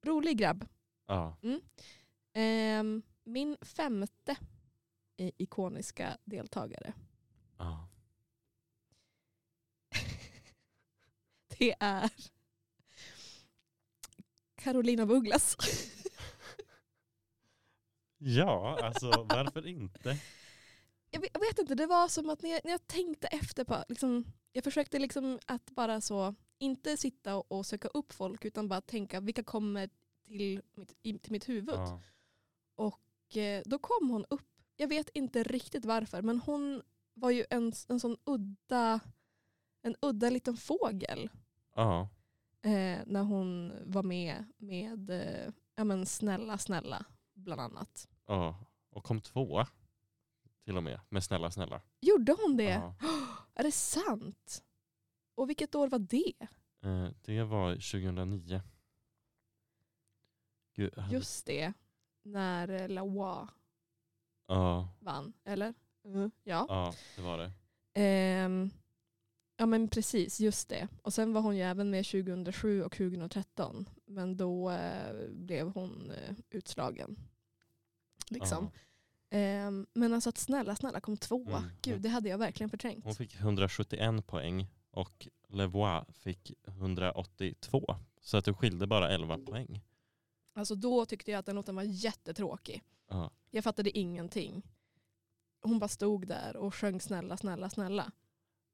Speaker 1: rolig grabb.
Speaker 2: Ja.
Speaker 1: Ehm, min femte eh, ikoniska deltagare.
Speaker 2: ja.
Speaker 1: Det är Carolina af Ugglas.
Speaker 2: Ja, alltså varför inte?
Speaker 1: Jag vet, jag vet inte, det var som att när jag, när jag tänkte efter på, liksom, jag försökte liksom att bara så, inte sitta och, och söka upp folk utan bara tänka vilka kommer till mitt, i, till mitt huvud.
Speaker 2: Ja.
Speaker 1: Och eh, då kom hon upp. Jag vet inte riktigt varför men hon var ju en, en sån udda, en udda liten fågel
Speaker 2: ja.
Speaker 1: eh, när hon var med med eh, ja, men Snälla snälla bland annat.
Speaker 2: Ja, och kom tvåa till och med med Snälla snälla.
Speaker 1: Gjorde hon det?
Speaker 2: Ja.
Speaker 1: Är det sant? Och vilket år var det?
Speaker 2: Eh, Det var 2009. Gud, hade-
Speaker 1: Just det, när eh, Lawa
Speaker 2: Ja,
Speaker 1: vann, eller? Ja.
Speaker 2: ja, det var det.
Speaker 1: Ehm, ja men precis, just det. Och sen var hon ju även med 2007 och 2013. Men då eh, blev hon eh, utslagen. Liksom.
Speaker 2: Ja.
Speaker 1: Ehm, men alltså att snälla, snälla kom tvåa.
Speaker 2: Mm.
Speaker 1: Gud, det hade jag verkligen
Speaker 2: Hon
Speaker 1: förträngt.
Speaker 2: fick 171 poäng och Levois fick 182. Så att det skilde bara 11 poäng.
Speaker 1: Alltså då tyckte jag att den låten var jättetråkig.
Speaker 2: Ja.
Speaker 1: Jag fattade ingenting. Hon bara stod där och sjöng snälla, snälla, snälla.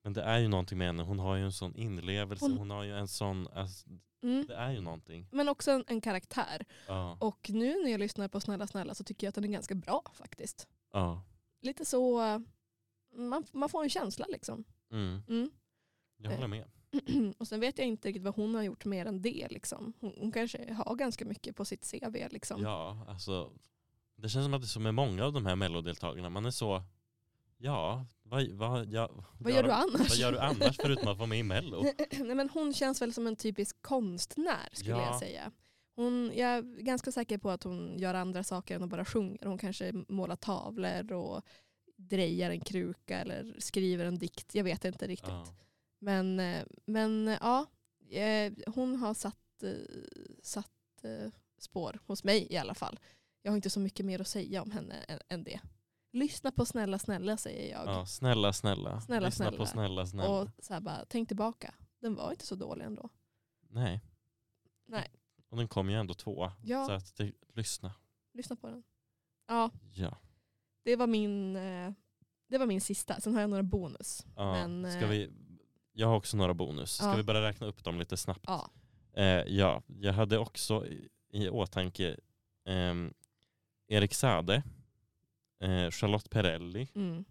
Speaker 2: Men det är ju någonting med henne. Hon har ju en sån inlevelse.
Speaker 1: Hon-
Speaker 2: Hon har ju en sån... Alltså,
Speaker 1: Mm.
Speaker 2: det är ju någonting.
Speaker 1: Men också en, en karaktär.
Speaker 2: Ja.
Speaker 1: Och nu när jag lyssnar på Snälla snälla så tycker jag att den är ganska bra faktiskt.
Speaker 2: ja.
Speaker 1: lite så, eh, man, man får en känsla liksom.
Speaker 2: Mm.
Speaker 1: Mm.
Speaker 2: Jag håller med.
Speaker 1: Och sen vet jag inte riktigt vad hon har gjort mer än det. Liksom. Hon, hon kanske har ganska mycket på sitt CV. Liksom.
Speaker 2: Ja, alltså. Det känns som att det är så med många av de här mellodeltagarna. Man är så, ja, vad, vad, ja,
Speaker 1: vad gör du annars?
Speaker 2: Vad gör du annars förutom att vara med i mello?
Speaker 1: Nej, men hon känns väl som en typisk konstnär skulle
Speaker 2: Ja.
Speaker 1: jag säga. Hon, jag är ganska säker på att hon gör andra saker än att bara sjunger. Hon kanske målar tavlor och drejar en kruka eller skriver en dikt. Jag vet inte riktigt.
Speaker 2: Ja.
Speaker 1: Men, eh, men eh, ja, eh, hon har satt, eh, satt eh, spår hos mig i alla fall. Jag har inte så mycket mer att säga om henne än, än det. Lyssna på snälla snälla säger jag.
Speaker 2: Ja, snälla, snälla.
Speaker 1: Snälla,
Speaker 2: Lyssna
Speaker 1: snälla.
Speaker 2: på snälla, snälla.
Speaker 1: Och så här bara, tänk tillbaka. Den var inte så dålig ändå.
Speaker 2: Nej.
Speaker 1: Nej.
Speaker 2: Och den kom ju ändå tvåa.
Speaker 1: Ja.
Speaker 2: Så att det, lyssna.
Speaker 1: Lyssna på den. Ja,
Speaker 2: Ja.
Speaker 1: det var min, eh, det var min sista. Sen har jag några bonus.
Speaker 2: ja.
Speaker 1: Men,
Speaker 2: Ska
Speaker 1: eh,
Speaker 2: vi, jag har också några bonus. Ska
Speaker 1: Ja.
Speaker 2: vi bara räkna upp dem lite snabbt?
Speaker 1: Ja.
Speaker 2: Eh, ja, jag hade också i, i åtanke ehm, Erik Sade, eh, Charlotte Perrelli,
Speaker 1: Mm.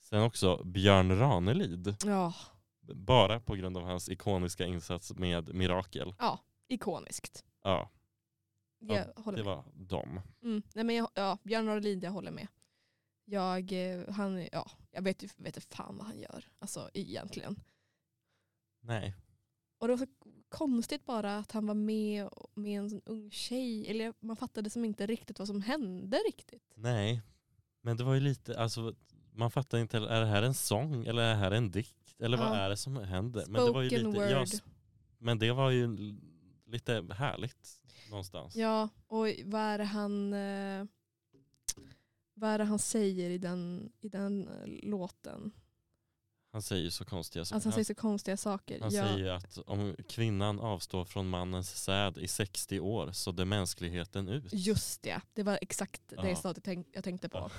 Speaker 2: sen också Björn Ranelid.
Speaker 1: ja,
Speaker 2: Bara på grund av hans ikoniska insats med Mirakel.
Speaker 1: ikoniskt.
Speaker 2: Ja, Ja,
Speaker 1: Jag håller
Speaker 2: det
Speaker 1: med.
Speaker 2: var dem.
Speaker 1: Mm. Nej, men jag, ja, Björn Norlin, jag håller med. Jag, eh, han, är- ja, jag vet ju vet inte fan vad han gör alltså, egentligen.
Speaker 2: Nej,
Speaker 1: Och det var så konstigt bara att han var med med en sån ung tjej. Eller man fattade som inte riktigt vad som hände riktigt.
Speaker 2: nej. Men det var ju lite, alltså man fattar inte, heller, är det här en sång eller är det här en dikt? Eller vad
Speaker 1: Ja.
Speaker 2: är det som händer?
Speaker 1: Spoken
Speaker 2: Men det, var ju lite,
Speaker 1: word.
Speaker 2: ja, s- men det var ju l- lite härligt någonstans.
Speaker 1: Ja, och vad är det han, eh, vad är det han säger i den, i den eh, låten?
Speaker 2: Han säger ju så konstiga saker.
Speaker 1: Alltså han
Speaker 2: Han-
Speaker 1: säger så konstiga saker.
Speaker 2: Han
Speaker 1: ja.
Speaker 2: säger ju att om kvinnan avstår från mannens säd i 60 år så dör mänskligheten ut.
Speaker 1: Just det, det var exakt det
Speaker 2: Ja.
Speaker 1: jag tänk, jag tänkte på.
Speaker 2: Ja.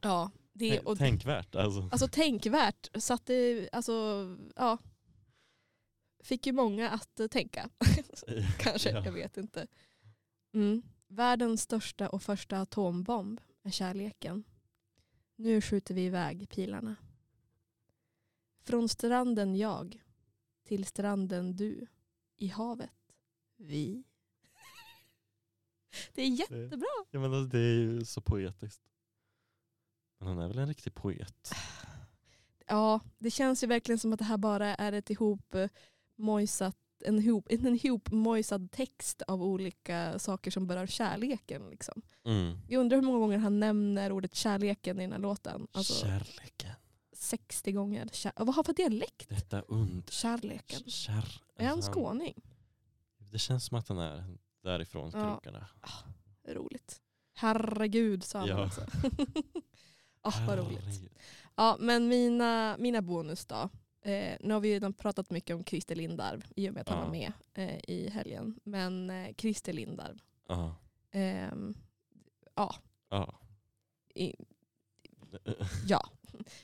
Speaker 1: Ja, det,
Speaker 2: Tänk-
Speaker 1: och
Speaker 2: Tänkvärt alltså.
Speaker 1: Alltså tänkvärt. Så att det, alltså, ja. Fick ju många att eh, tänka. Kanske,
Speaker 2: Ja.
Speaker 1: jag vet inte. Mm. Världens största och första atombomb är kärleken. Nu skjuter vi iväg pilarna. Från stranden jag till stranden du i havet vi. Det är jättebra.
Speaker 2: Ja, men alltså, det är ju så poetiskt. Men han är väl en riktig poet?
Speaker 1: Ja, det känns ju verkligen som att det här bara är ett ihop eh, mojsat en ihop, en ihop mojsad text av olika saker som berör kärleken. Liksom.
Speaker 2: Mm.
Speaker 1: Jag undrar hur många gånger han nämner ordet kärleken i den här låten. Alltså
Speaker 2: Kärleken,
Speaker 1: 60 gånger. Kär- Vad har han för dialekt?
Speaker 2: detta under.
Speaker 1: Kärleken.
Speaker 2: Kär...
Speaker 1: Är han
Speaker 2: alltså,
Speaker 1: skåning?
Speaker 2: Det känns som att han är därifrån
Speaker 1: Ja.
Speaker 2: krokarna.
Speaker 1: Roligt. Herregud sa han
Speaker 2: Ja.
Speaker 1: också. alltså, Ah, vad roligt.
Speaker 2: Herregud.
Speaker 1: Ja, men mina, mina bonus då. Eh, nu har vi ju redan pratat mycket om Christer Lindarw i och med att han
Speaker 2: Ja.
Speaker 1: var med eh, i helgen. Men eh, Christer Lindarw,
Speaker 2: Ja.
Speaker 1: ehm,
Speaker 2: Ja.
Speaker 1: i, ja.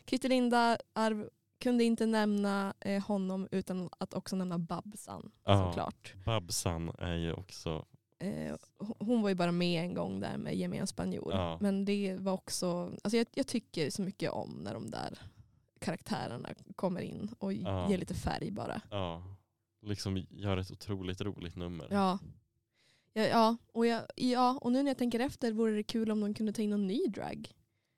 Speaker 1: Christer Lindarw kunde inte nämna eh, honom utan att också nämna Babsan
Speaker 2: Ja.
Speaker 1: såklart.
Speaker 2: Babsan är ju också...
Speaker 1: Eh, hon- hon var ju bara med en gång där med Gemen Spanjor.
Speaker 2: Ja.
Speaker 1: Men det var också, alltså jag, jag tycker så mycket om när de där karaktärerna kommer in och
Speaker 2: Ja.
Speaker 1: ger lite färg bara.
Speaker 2: Ja. Liksom gör ett otroligt roligt nummer.
Speaker 1: Ja. Ja, ja, och jag, ja, och nu när jag tänker efter vore det kul om de kunde ta in någon ny drag.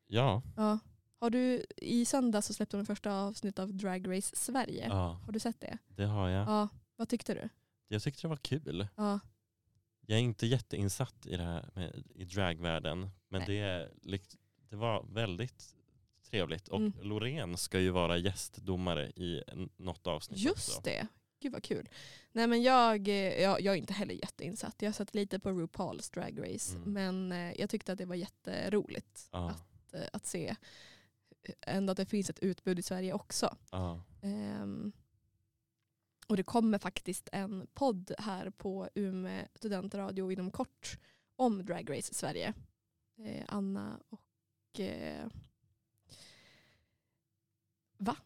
Speaker 2: Ja.
Speaker 1: Ja. Har du, I söndags så släppte de första avsnittet av Drag Race Sverige.
Speaker 2: ja.
Speaker 1: Har du sett det?
Speaker 2: Det har jag.
Speaker 1: Ja. Vad tyckte du?
Speaker 2: Jag tyckte det var kul.
Speaker 1: Ja.
Speaker 2: Jag är inte jätteinsatt i det här med, i dragvärlden. Men
Speaker 1: Nej.
Speaker 2: det, är likt- det var väldigt trevligt. Och
Speaker 1: Mm.
Speaker 2: Loreen ska ju vara gästdomare i en- något avsnitt
Speaker 1: Just
Speaker 2: också.
Speaker 1: det. Gud vad kul. Nej men jag, eh, jag, jag är inte heller jätteinsatt. Jag satt lite på RuPaul's Drag Race.
Speaker 2: Mm.
Speaker 1: Men eh, jag tyckte att det var jätteroligt
Speaker 2: Ja,
Speaker 1: att, eh, att se ändå att det finns ett utbud i Sverige också.
Speaker 2: ja.
Speaker 1: Ehm, och det kommer faktiskt en podd här på Umeå studentradio inom kort om Drag Race Sverige. Eh, Anna och... Eh, va?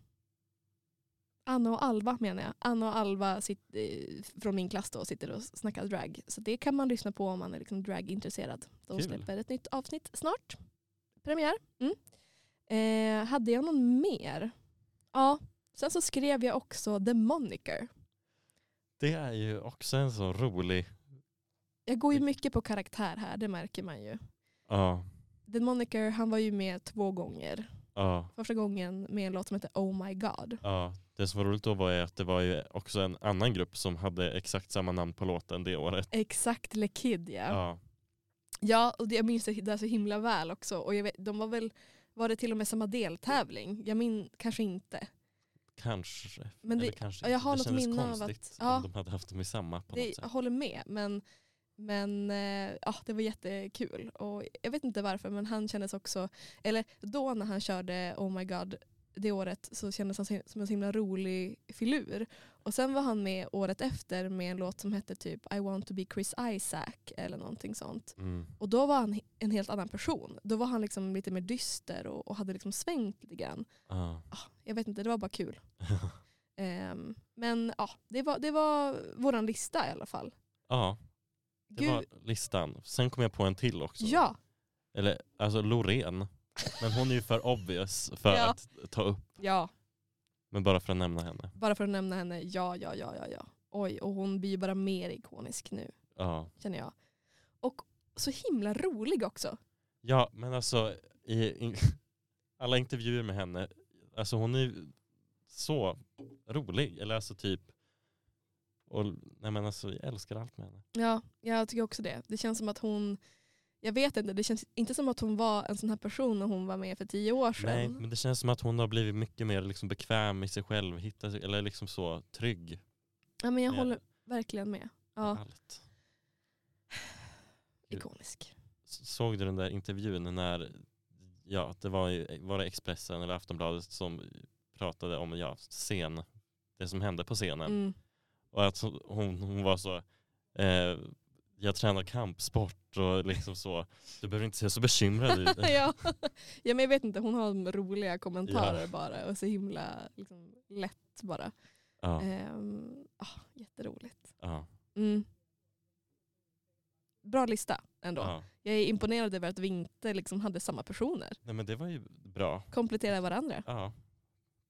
Speaker 1: Anna och Alva menar jag. Anna och Alva sit, eh, från min klass då, sitter och snackar drag. Så det kan man lyssna på om man är liksom dragintresserad. De
Speaker 2: Kul.
Speaker 1: släpper ett nytt avsnitt snart. Premiär. Mm. Eh, hade jag någon mer? Ja, sen så skrev jag också The Moniker.
Speaker 2: Det är ju också en så rolig...
Speaker 1: Jag går ju mycket på karaktär här, det märker man ju.
Speaker 2: Ja,
Speaker 1: The Moniker, han var ju med två gånger.
Speaker 2: ja,
Speaker 1: Första gången med en låt som heter Oh My God.
Speaker 2: ja. Det som var roligt då var ju att det var ju också en annan grupp som hade exakt samma namn på låten det året.
Speaker 1: Exakt Le Kid ja.
Speaker 2: Ja,
Speaker 1: Ja, och det, jag minns det där så himla väl också. Och jag vet, de var väl, var det till och med samma deltävling? Jag minns kanske inte.
Speaker 2: kanske.
Speaker 1: Men det,
Speaker 2: Eller kanske
Speaker 1: jag
Speaker 2: inte. det
Speaker 1: har något
Speaker 2: kändes
Speaker 1: minne av
Speaker 2: konstigt
Speaker 1: att- ja.
Speaker 2: om de hade haft dem i samma på något
Speaker 1: det
Speaker 2: sätt.
Speaker 1: jag håller med, men, men eh, ja, det var jättekul. Och jag vet inte varför, men han kändes också, eller då när han körde Oh My God det året så kändes han si- som en så himla rolig filur. Och sen var han med året efter med en låt som hette typ I want to be Chris Isaac eller någonting sånt.
Speaker 2: Mm.
Speaker 1: Och då var han he- en helt annan person. Då var han liksom lite mer dyster och, och hade liksom svängt lite grann.
Speaker 2: Ja.
Speaker 1: Ah, jag vet inte, det var bara kul. Ehm, men ja, det var, det var våran lista i alla fall.
Speaker 2: ja, det
Speaker 1: Gud,
Speaker 2: var listan. Sen kom jag på en till också.
Speaker 1: Ja,
Speaker 2: Eller alltså Loreen. Men hon är ju för obvious för
Speaker 1: Ja.
Speaker 2: att ta upp.
Speaker 1: ja.
Speaker 2: Men bara för att nämna henne.
Speaker 1: Bara för att nämna henne, ja, ja, ja, ja, ja. Oj, och hon blir ju bara mer ikonisk nu,
Speaker 2: Ja.
Speaker 1: känner jag. Och så himla rolig också.
Speaker 2: ja, men alltså i, i alla intervjuer med henne. Alltså hon är ju så rolig. Eller alltså typ. Och, nej men alltså jag älskar allt med henne.
Speaker 1: Ja, jag tycker också det. Det känns som att hon, jag vet inte, det känns inte som att hon var en sån här person när hon var med för tio år sedan.
Speaker 2: Nej, men det känns som att hon har blivit mycket mer liksom bekväm i sig själv. Hittat, sig- eller liksom så trygg.
Speaker 1: ja, men jag
Speaker 2: med
Speaker 1: håller verkligen med. Ja,
Speaker 2: allt.
Speaker 1: ikonisk.
Speaker 2: såg du den där intervjun när ja, det var, ju- var det Expressen eller Aftonbladet som pratade om ja, scen, det som hände på scenen.
Speaker 1: Mm.
Speaker 2: Och att hon, hon var så, eh, jag tränar kampsport och liksom så, du behöver inte se så bekymrad ut.
Speaker 1: ja. ja, men jag vet inte, hon har roliga kommentarer bara och så himla liksom, lätt bara.
Speaker 2: ja,
Speaker 1: Ehm, ah, jätteroligt.
Speaker 2: ja,
Speaker 1: Mm. Bra lista ändå.
Speaker 2: ja.
Speaker 1: Jag är imponerad över att vi inte liksom hade samma personer.
Speaker 2: Nej men det var ju bra.
Speaker 1: Kompletterar varandra.
Speaker 2: Ja.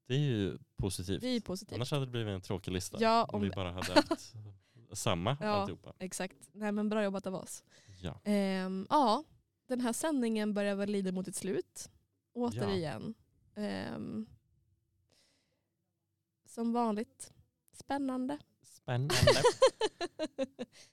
Speaker 2: Det är ju positivt.
Speaker 1: Det är ju positivt.
Speaker 2: Annars hade det blivit en tråkig lista.
Speaker 1: Typ. Ja,
Speaker 2: om
Speaker 1: om-
Speaker 2: vi bara hade haft samma
Speaker 1: Ja.
Speaker 2: alltihopa.
Speaker 1: Exakt. Nej men bra jobbat av oss.
Speaker 2: Ja.
Speaker 1: Ehm, ja, den här sändningen börjar väl lida mot ett slut. Återigen. Ehm, som vanligt. Spännande.
Speaker 2: Spännande.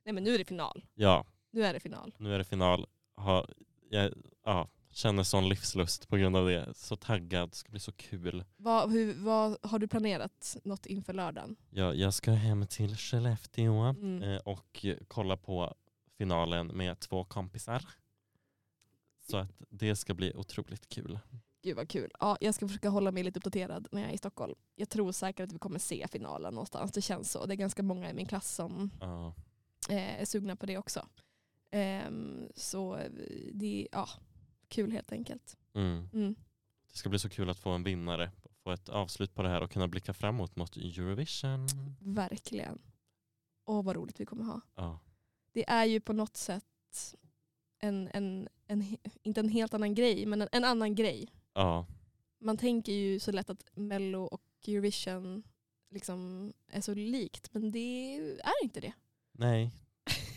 Speaker 1: Nej men nu är det final.
Speaker 2: ja.
Speaker 1: Nu är det final.
Speaker 2: Nu är det final. Ha, jag ja, känner sån livslust på grund av det. Så taggad, det ska bli så kul.
Speaker 1: Vad, hur, vad, har du planerat något inför lördagen?
Speaker 2: Ja, jag ska hem till Skellefteå
Speaker 1: Mm.
Speaker 2: eh, och kolla på finalen med två kompisar. Så att det ska bli otroligt kul.
Speaker 1: Gud vad kul. Ja, jag ska försöka hålla mig lite uppdaterad när jag är i Stockholm. Jag tror säkert att vi kommer se finalen någonstans. Det känns så. Det är ganska många i min klass som
Speaker 2: Ja,
Speaker 1: eh, är sugna på det också. Ehm, så eh, det ja, kul helt enkelt.
Speaker 2: mm.
Speaker 1: Mm.
Speaker 2: Det ska bli så kul att få en vinnare, få ett avslut på det här och kunna blicka framåt mot Eurovision.
Speaker 1: Verkligen. Åh vad roligt vi kommer ha.
Speaker 2: Ja,
Speaker 1: Det är ju på något sätt en, en, en he- inte en helt annan grej, men en, en annan grej.
Speaker 2: ja,
Speaker 1: Man tänker ju så lätt att Mello och Eurovision liksom är så likt, men det är inte det.
Speaker 2: nej,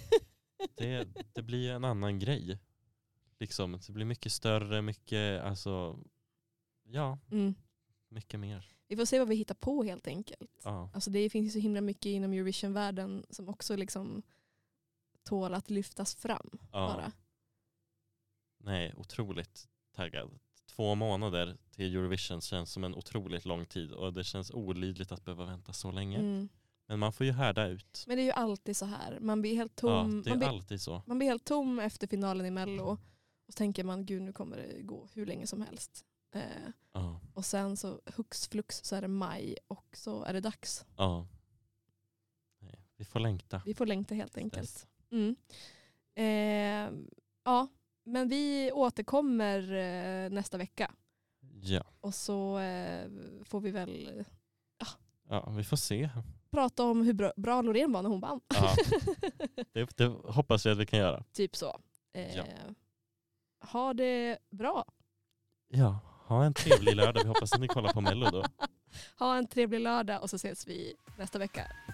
Speaker 2: det, det blir ju en annan grej. Liksom, det blir mycket större, mycket, alltså, ja,
Speaker 1: Mm.
Speaker 2: mycket mer.
Speaker 1: Vi får se vad vi hittar på helt enkelt.
Speaker 2: Ja,
Speaker 1: Alltså det finns ju så himla mycket inom Eurovision-världen som också liksom tåla att lyftas fram bara.
Speaker 2: Nej, otroligt taggad. Två månader till Eurovision känns som en otroligt lång tid och det känns olidligt att behöva vänta så länge.
Speaker 1: Mm.
Speaker 2: Men man får ju härda ut.
Speaker 1: Men det är ju alltid så här. Man blir helt
Speaker 2: Ja,
Speaker 1: tom,
Speaker 2: det
Speaker 1: man,
Speaker 2: är
Speaker 1: blir,
Speaker 2: alltid så.
Speaker 1: man blir helt tom efter finalen i Mello. Och så tänker man gud nu kommer det gå hur länge som helst. Eh,
Speaker 2: Ja,
Speaker 1: och sen så hux flux så är det maj och så är det dags.
Speaker 2: ja. Nej, vi får längta.
Speaker 1: Vi får längta helt enkelt.
Speaker 2: Dess.
Speaker 1: Mm. Eh, ja, men vi återkommer eh, nästa vecka.
Speaker 2: Ja.
Speaker 1: Och så eh, får vi väl
Speaker 2: ja, vi får se.
Speaker 1: prata om hur bra, bra Loreen var när hon vann.
Speaker 2: Ja. Det, det hoppas vi att vi kan göra.
Speaker 1: typ så. Eh,
Speaker 2: Ja.
Speaker 1: Ha det bra.
Speaker 2: Ja, ha en trevlig lördag. Vi hoppas att ni kollar på Mello då.
Speaker 1: Ha en trevlig lördag och så ses vi nästa vecka.